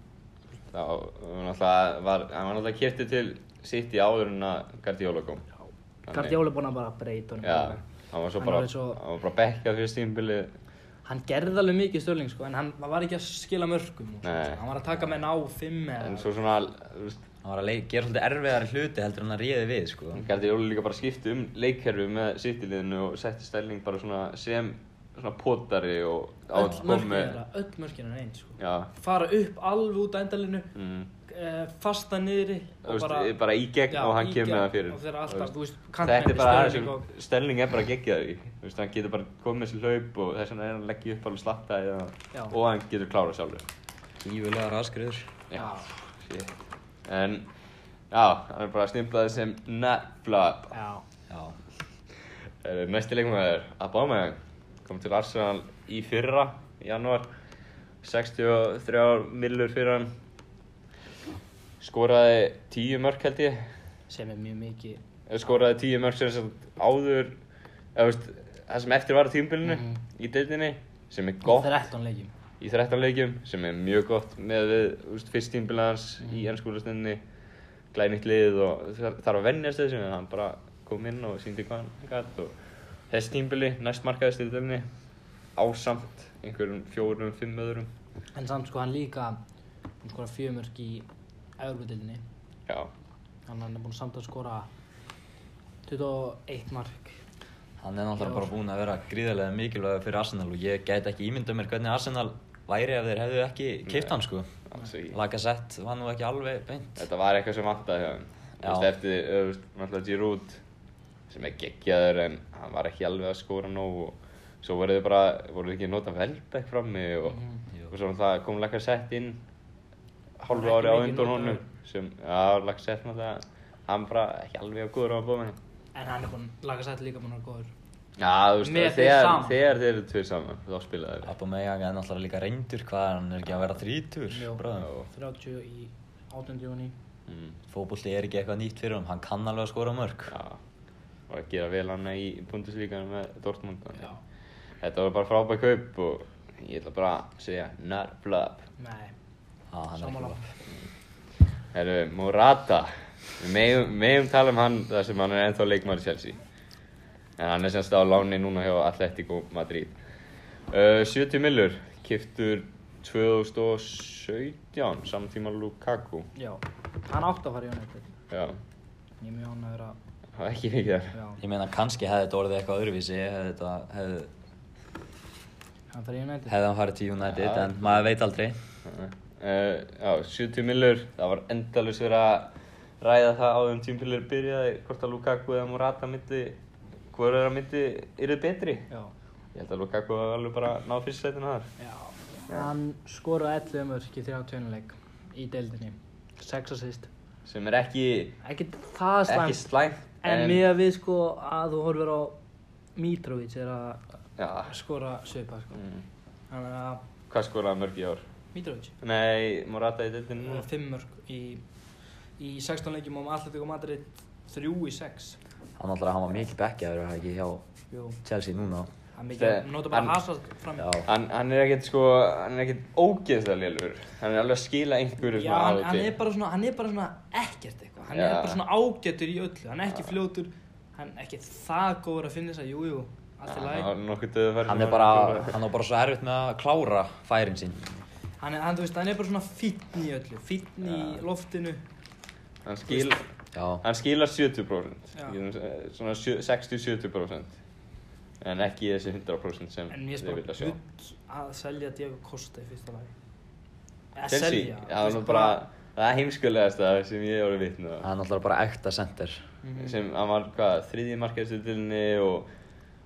[SPEAKER 1] Þá, hann náttúrulega var, hann var náttúrulega kiptið til sitt í áður en að Guardiola kom. Þannig-
[SPEAKER 2] Gardjóla er búinn að bara breyta honum
[SPEAKER 1] Já, hann var svo
[SPEAKER 2] Hann
[SPEAKER 1] bara,
[SPEAKER 2] var eins og-
[SPEAKER 1] hann var bara bekkjað fyrir stímbili
[SPEAKER 2] hann gerði alveg mikið stölling sko, en hann hann var ekki að skila mörgum og svona,
[SPEAKER 1] Nei.
[SPEAKER 2] sko. hann var að taka menn á 5
[SPEAKER 1] en
[SPEAKER 2] eða
[SPEAKER 1] svo svona, þú veist,
[SPEAKER 8] Hann var að leik, gera svolítið erfiðari hluti heldur en hann réði við sko
[SPEAKER 1] hann gerði Jóli líka bara skipti um leikkerfi með sittiliðinu og setti stæling bara svona sem svona potari og á
[SPEAKER 2] öll
[SPEAKER 1] kom
[SPEAKER 2] mörkin
[SPEAKER 1] með-
[SPEAKER 2] er það, öll mörkin er eins sko.
[SPEAKER 1] Já,
[SPEAKER 2] fara upp alveg út að endalinu
[SPEAKER 1] mm,
[SPEAKER 2] eh, fasta niðri
[SPEAKER 1] þú veist, bara, í gegn og hann
[SPEAKER 2] í
[SPEAKER 1] kemur með það
[SPEAKER 2] gegn
[SPEAKER 1] fyrir
[SPEAKER 2] og þeir eru alltaf,
[SPEAKER 1] Þú
[SPEAKER 2] þú veist,
[SPEAKER 1] Þetta er
[SPEAKER 2] kantmenni,
[SPEAKER 1] bara
[SPEAKER 2] Sterling og-
[SPEAKER 1] aðeins, Stelling er bara geggjað í, þú veist, hann getur bara komið með þessi hlaup og þess vegna er hann að leggja upp alveg slatta eða,
[SPEAKER 2] Já.
[SPEAKER 1] og hann getur klárað sjálfur.
[SPEAKER 8] Gífulega raskriður
[SPEAKER 1] Já, shit. En, já, hann er bara stimplaði sem nefnflap
[SPEAKER 2] Já,
[SPEAKER 8] Já,
[SPEAKER 1] Herru, Næsti leikmaður, Aubameyang, kom til Arsenal í fyrra, í janúar, 63 millur fyrir hann, skoraði 10 mörk held ég,
[SPEAKER 2] sem er mjög mikið
[SPEAKER 1] Eða skoraði 10 mörk sem sagt áður, eða veist, það sem eftir var á tímbilinu í deildinni, sem er gott
[SPEAKER 2] 13 leikjum
[SPEAKER 1] í 13 leikjum, sem er mjög gott með við, þú veist, fyrst tímbilinu hans í ennskólastundinni, glænýtt lið og þar- þarf að vennjast þessu, en hann bara kom inn og síndi hvað hann gætt og þess tímbili, næst markaðist í dæmni, ásamt einhverjum fjórum, fimm öðrum.
[SPEAKER 2] En samt sko hann líka Hún skora fjömörk í Európa-dildinni
[SPEAKER 1] Já,
[SPEAKER 2] Þannig hann er búinn samt að skora 21 mark
[SPEAKER 8] Hann er náttúrulega bara búinn að vera gríðarlega mikilvægur fyrir Arsenal og ég gæti ekki ímyndað mér hvernig Arsenal væri ef þeir hefðu ekki keipt hann sko.
[SPEAKER 1] alls ekki.
[SPEAKER 8] Lacazette var nú ekki alveg beint.
[SPEAKER 1] Þetta var eitthvað sem vantaði hjá hann. Þú veist,
[SPEAKER 8] Já.
[SPEAKER 1] eftir, eh, þú veist, náttúrulega Giroud, sem er geggjaður, en hann var ekki alveg að skora nóg og svo voruð þið bara, voruð þið ekki að nota Velbeck frammi og,
[SPEAKER 2] Mhm.
[SPEAKER 1] og svo náttúrulega kom Lacazette inn hálfu
[SPEAKER 2] Ekki
[SPEAKER 1] ári á
[SPEAKER 2] mikið
[SPEAKER 1] undan
[SPEAKER 2] notaður.
[SPEAKER 1] honum sem, já, Lacazette náttúrulega, hann bara ekki alveg að góður á að bóma henni.
[SPEAKER 2] En hann er búinn, laga sætt líka búinn að vera góður
[SPEAKER 1] Já, þú veist,
[SPEAKER 2] Með
[SPEAKER 1] þegar,
[SPEAKER 2] þeir
[SPEAKER 1] þegar,
[SPEAKER 2] saman.
[SPEAKER 1] þeir eru tveir saman, þá spila þeir.
[SPEAKER 8] Abba Meyang er náttúrulega líka reyndur hvað, er hann er ekki að vera þrítur,
[SPEAKER 2] Jú.
[SPEAKER 8] bráðum.
[SPEAKER 2] 30 í 18. júni
[SPEAKER 1] Mm,
[SPEAKER 8] Fótbolti er ekki eitthvað nýtt fyrir hann, hann kann alveg að skora mörg.
[SPEAKER 1] já, og að gera vel hann í Bundesliga með Dortmund. Já. Þetta var bara frábæk kaup og ég ætla bara að segja not flop.
[SPEAKER 2] Nei,
[SPEAKER 8] Ha, hann er ekki
[SPEAKER 2] sammála
[SPEAKER 8] flop.
[SPEAKER 1] Herru, Morata, við megum, megum tala um hann þar sem hann er ennþá leikmaður í Chelsea. En hann er semst á láni núna hjá Atletico Madrid. Uh, 70 millur, kiptur 2017, samtíma Lukaku.
[SPEAKER 2] Já, hann átti að fara í United
[SPEAKER 1] Já,
[SPEAKER 2] Ég er mjög hann að vera
[SPEAKER 1] það var ekki mikið þar.
[SPEAKER 2] Já,
[SPEAKER 8] Ég meina, kannski hefði þetta orðið eitthvað öðruvísi, hefði þetta, hefði,
[SPEAKER 2] hann fara í United
[SPEAKER 8] hefði hann farið til United, en maður veit aldrei.
[SPEAKER 1] Uh, já, 70 millur, það var endalus verið að ræða það áður um tímpilir byrjaði hvort að Lukaku eða Morata myndi, hver er að myndi, yrði betri?
[SPEAKER 2] Já,
[SPEAKER 1] Ég held að Lukaku var alveg bara að ná fyrst setinu þar.
[SPEAKER 2] já Hann skoraði 11 mörg í 31 leik í deildinni 6 assist
[SPEAKER 1] Sem er ekki,
[SPEAKER 2] Ekki það
[SPEAKER 1] ekki
[SPEAKER 2] slæmt
[SPEAKER 1] slæmt,
[SPEAKER 2] En mér að við sko að þú horfir á Mitrovic er að
[SPEAKER 1] Já,
[SPEAKER 2] skora svipa sko
[SPEAKER 1] Mm.
[SPEAKER 2] Þannig að
[SPEAKER 1] hvað skoraði mörg í ár?
[SPEAKER 2] Mitrovic
[SPEAKER 1] Nei, Morata í deildinu
[SPEAKER 2] Það
[SPEAKER 1] núna.
[SPEAKER 2] er fimm mörg í, í 16 leikjum og allir fyrir Madrid 3 í 6
[SPEAKER 8] Hann náttúrulega, hann var mikið bekkjaður, er það ekki hjá
[SPEAKER 2] Jú,
[SPEAKER 8] Chelsea núna.
[SPEAKER 2] það er mikið,
[SPEAKER 1] Þe-
[SPEAKER 2] nota bara
[SPEAKER 1] hann-
[SPEAKER 2] Hazard fram
[SPEAKER 8] Já,
[SPEAKER 1] Hann, hann er ekkert sko, hann er ekkert ógeðslega lélur. Hann er alveg að skila einhverju
[SPEAKER 2] Já,
[SPEAKER 1] svona af
[SPEAKER 2] hann,
[SPEAKER 1] og
[SPEAKER 2] hann
[SPEAKER 1] til.
[SPEAKER 2] er bara svona, hann er bara svona ekkert eitthvað Hann er
[SPEAKER 1] Já.
[SPEAKER 2] bara svona ágætur í öllu, hann er ekki fljótur Hann er ekki það góður að finna þess að jú, jú, allt er
[SPEAKER 1] Hann
[SPEAKER 2] læg
[SPEAKER 1] var nokkuð döðu færið.
[SPEAKER 8] hann er bara, hann var bara svo erfitt með að klára færin sín.
[SPEAKER 2] hann, er- hann, þú veist, hann er bara svona fítn í öllu, fítn í loftinu
[SPEAKER 1] Hann skil,
[SPEAKER 8] Já,
[SPEAKER 1] Hann skilar 70%
[SPEAKER 2] Já.
[SPEAKER 1] Ég myndi segja, svona sjö- 60-70% en ekki þessi 100% sem
[SPEAKER 2] En mér
[SPEAKER 1] þið
[SPEAKER 2] er
[SPEAKER 1] vilja
[SPEAKER 2] bara
[SPEAKER 1] sjá
[SPEAKER 2] gutt að selja Diego Costa í fyrsta lagi Eða
[SPEAKER 1] Chelsea,
[SPEAKER 2] selja,
[SPEAKER 1] það
[SPEAKER 2] þú
[SPEAKER 1] var
[SPEAKER 2] veist,
[SPEAKER 1] bara það er heimskulegasta sem ég hef orðið vitna
[SPEAKER 8] það er náttúrulega bara ekta center.
[SPEAKER 2] Mhm.
[SPEAKER 1] mm. sem hann var hvað, þriðji markaðstillinni og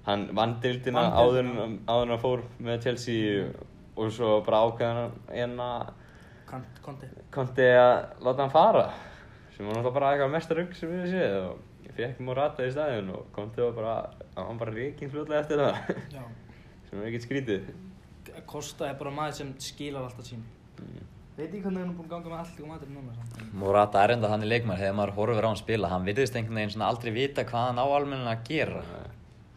[SPEAKER 1] hann vann dildina
[SPEAKER 2] Vann
[SPEAKER 1] áður
[SPEAKER 2] deildina.
[SPEAKER 1] en áður en hann fór með Chelsea og svo bara hérna ákveðan en að
[SPEAKER 2] Kant- Conte
[SPEAKER 1] konti að láta hann fara sem var náttúrulega bara eitthvað mesta rugg sem við séð og ég fekk Morata í staðinn og konti var bara, hann var bara reikinn fljótlega eftir það [laughs]
[SPEAKER 2] Já,
[SPEAKER 1] sem er ekkert skrítið
[SPEAKER 2] Costa er bara maður sem skilar alltaf sín
[SPEAKER 1] Mm.
[SPEAKER 2] Veit ég hvernig hann er búin að ganga með allir og matur núna samt
[SPEAKER 8] Morata er enda þannig leikmar, þegar maður horfir á hann spila, hann virðist einhvern veginn svona aldrei vita hvað hann á almenna að gera.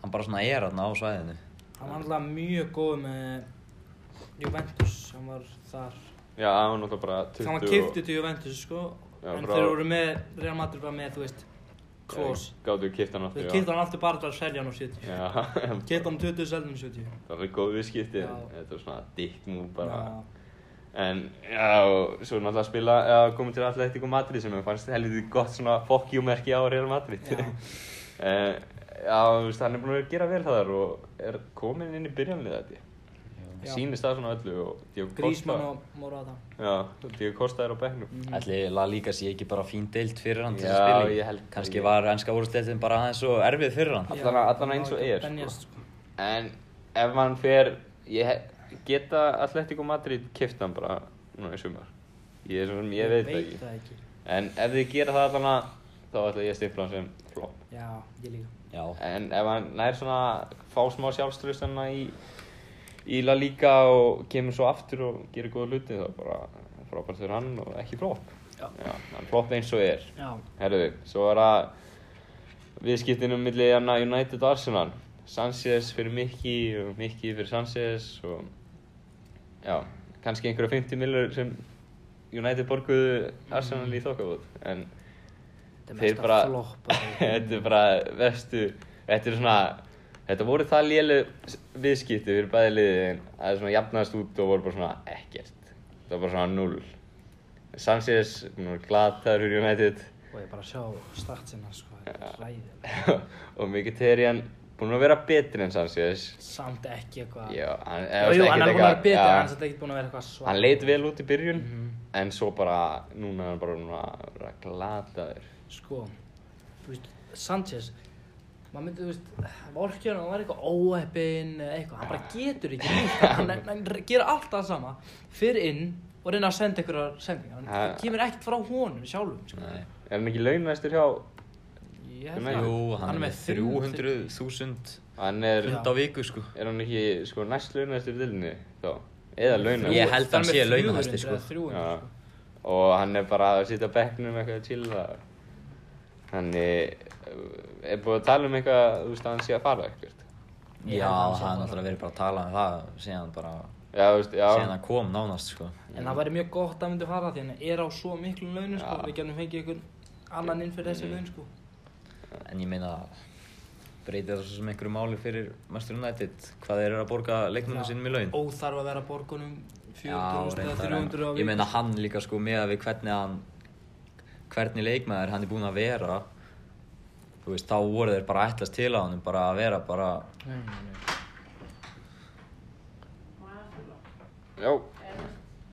[SPEAKER 8] Hann bara svona er hann á svæðinu.
[SPEAKER 2] Hann var alltaf mjög góð með Juventus, hann var þar.
[SPEAKER 1] Já, hann var náttúrulega bara 20
[SPEAKER 2] Hann var kiftið til Juventus, sko,
[SPEAKER 1] Já,
[SPEAKER 2] en
[SPEAKER 1] frá-
[SPEAKER 2] þeir voru með, Real Madrid var með, þú veist, Kroos.
[SPEAKER 1] Gáttu kift hann
[SPEAKER 2] Þeir
[SPEAKER 1] aftur,
[SPEAKER 2] kifti hann alltaf bara til að selja hann á 70.
[SPEAKER 1] Já, [laughs] það
[SPEAKER 2] Kifti hann um 20, selja hann á 70.
[SPEAKER 1] var góð viðskipti,
[SPEAKER 2] Já.
[SPEAKER 1] þetta var svona dick move bara.
[SPEAKER 2] Já.
[SPEAKER 1] En, já, og svo náttúrulega spila, já, komið til Atletico Madrid sem mér fannst helviti gott svona fuck you merki á Real Madrid. [laughs] Já. já, þú veist, hann er búin að gera vel það þar og er komin inn í byrjanlið þetta.
[SPEAKER 2] Já.
[SPEAKER 1] Sýnist það svona öllu og Diego Costa.
[SPEAKER 2] Grísmann og Morata.
[SPEAKER 1] Já, Diego Costa er á bekknum.
[SPEAKER 8] Ætli La Liga sé ekki bara fín deild fyrir hann til
[SPEAKER 1] Mm. Já,
[SPEAKER 8] að spila
[SPEAKER 1] ég held það
[SPEAKER 8] Kanski
[SPEAKER 1] ekki.
[SPEAKER 8] var ennska úrstildin bara aðeins svo erfið fyrir hann
[SPEAKER 1] Allan-
[SPEAKER 2] Já,
[SPEAKER 1] allan eins og er,
[SPEAKER 2] hann var ekki að
[SPEAKER 1] sko.
[SPEAKER 2] Benjast, sko.
[SPEAKER 1] En ef hann fer, ég he- geta Atletico Madrid kipta hann bara núna í sumar. Ég, er svo sem, ég veit það ekki.
[SPEAKER 2] það ekki.
[SPEAKER 1] En ef þið gera það allan að, þá ætla ég að stifla hann sem flop.
[SPEAKER 2] Já, ég líka.
[SPEAKER 8] Já,
[SPEAKER 1] En ef hann nær svona, fá smá sjálfströðsana í, í La Liga og kemur svo aftur og gerir góða hluti, þá bara frábært fyrir hann og ekki flop.
[SPEAKER 2] Já.
[SPEAKER 1] Já, hann flop eins og er.
[SPEAKER 2] Já.
[SPEAKER 1] Herðu, svo var það viðskiptinum millir hérna United og Arsenal. Sanchez fyrir Mikki og Mikki fyrir Sanchez og já, kannski einhverja 50 millur sem United borguðu Arsenal í þokkabót en
[SPEAKER 2] Mm. Þetta
[SPEAKER 1] þeir
[SPEAKER 2] er mesta
[SPEAKER 1] bara
[SPEAKER 2] flopp bara.
[SPEAKER 1] [laughs] þetta er bara vestu þetta er svona þetta voru það lélu viðskipti fyrir bæði liðin að það svona jafnaðist út og voru bara svona ekkert það var bara svona null Sanchez, nú er glataður fyrir United
[SPEAKER 2] Og ég bara sjá startsina, sko, þetta er ræðið.
[SPEAKER 1] og Mkhitaryan búinn að vera betri en Sanchez
[SPEAKER 2] Samt ekki eitthvað.
[SPEAKER 1] Já, hann,
[SPEAKER 2] Ah. Jú, jú, hann er búin að vera betri, en hann er
[SPEAKER 1] hann,
[SPEAKER 2] samt ekki Mhm. búin að vera eitthvað svart.
[SPEAKER 1] hann leit vel út í byrjun en svo bara, núna er hann bara núna að vera glataður
[SPEAKER 2] Sko, þú veist, Sanchez, maður myndi, þú veist, vorkjör hann var eitthvað óheppinn eða eitthvað, hann bara getur ekki nýtt,
[SPEAKER 1] [laughs]
[SPEAKER 2] hann, hann, hann gerir alltaf það sama, fyrir inn og reyna að senda einhverjar sendingar, hann
[SPEAKER 1] Ha.
[SPEAKER 2] kemur ekkert frá honum sjálfum, sko.
[SPEAKER 1] er hann ekki launastur hjá
[SPEAKER 2] Ég held
[SPEAKER 1] Nei.
[SPEAKER 2] það.
[SPEAKER 8] Jú,
[SPEAKER 2] Hann
[SPEAKER 8] hann
[SPEAKER 2] er
[SPEAKER 8] er
[SPEAKER 2] með
[SPEAKER 8] með 300.000
[SPEAKER 1] Hann er,
[SPEAKER 8] pund á viku sko
[SPEAKER 1] er hann ekki sko næst launastur í dillinni þá? Eða launastur?
[SPEAKER 8] Ég held hann
[SPEAKER 2] er með
[SPEAKER 8] sé
[SPEAKER 2] 300
[SPEAKER 8] launahæsti,
[SPEAKER 2] eða
[SPEAKER 8] sko.
[SPEAKER 2] 300,
[SPEAKER 1] Já.
[SPEAKER 2] sko.
[SPEAKER 1] Og hann er bara að sitja á bekknum eitthvað að chilla. Hann er, er búið að tala um eitthvað, þú veist, að hann sé að fara eitthvað.
[SPEAKER 8] Já, það er náttúrulega verið bara að tala um það síðan bara
[SPEAKER 1] Já, þú veist, já.
[SPEAKER 8] síðan það kom nánast sko
[SPEAKER 2] En það væri mjög gott að hann myndi fara því hann er á svo miklum launum sko,
[SPEAKER 1] Já.
[SPEAKER 2] við getum fengið einhvern annan inn fyrir þessi
[SPEAKER 8] Mm.
[SPEAKER 2] laun sko.
[SPEAKER 8] En ég meina breytir það svo sem einhverju máli fyrir Master United hvað þeir eru að borga leikmennum sínum í laun
[SPEAKER 2] Óþarf að vera borgunum
[SPEAKER 8] Já,
[SPEAKER 2] 400 eða
[SPEAKER 8] reyndar, en
[SPEAKER 2] 300 á
[SPEAKER 8] Ég
[SPEAKER 2] viku.
[SPEAKER 8] meina hann líka sko með að við hvernig hann hvernig leikmaður hann er búinn að vera þú veist, þá voru þeir bara að ætlast til á hann bara að vera bara
[SPEAKER 1] Já,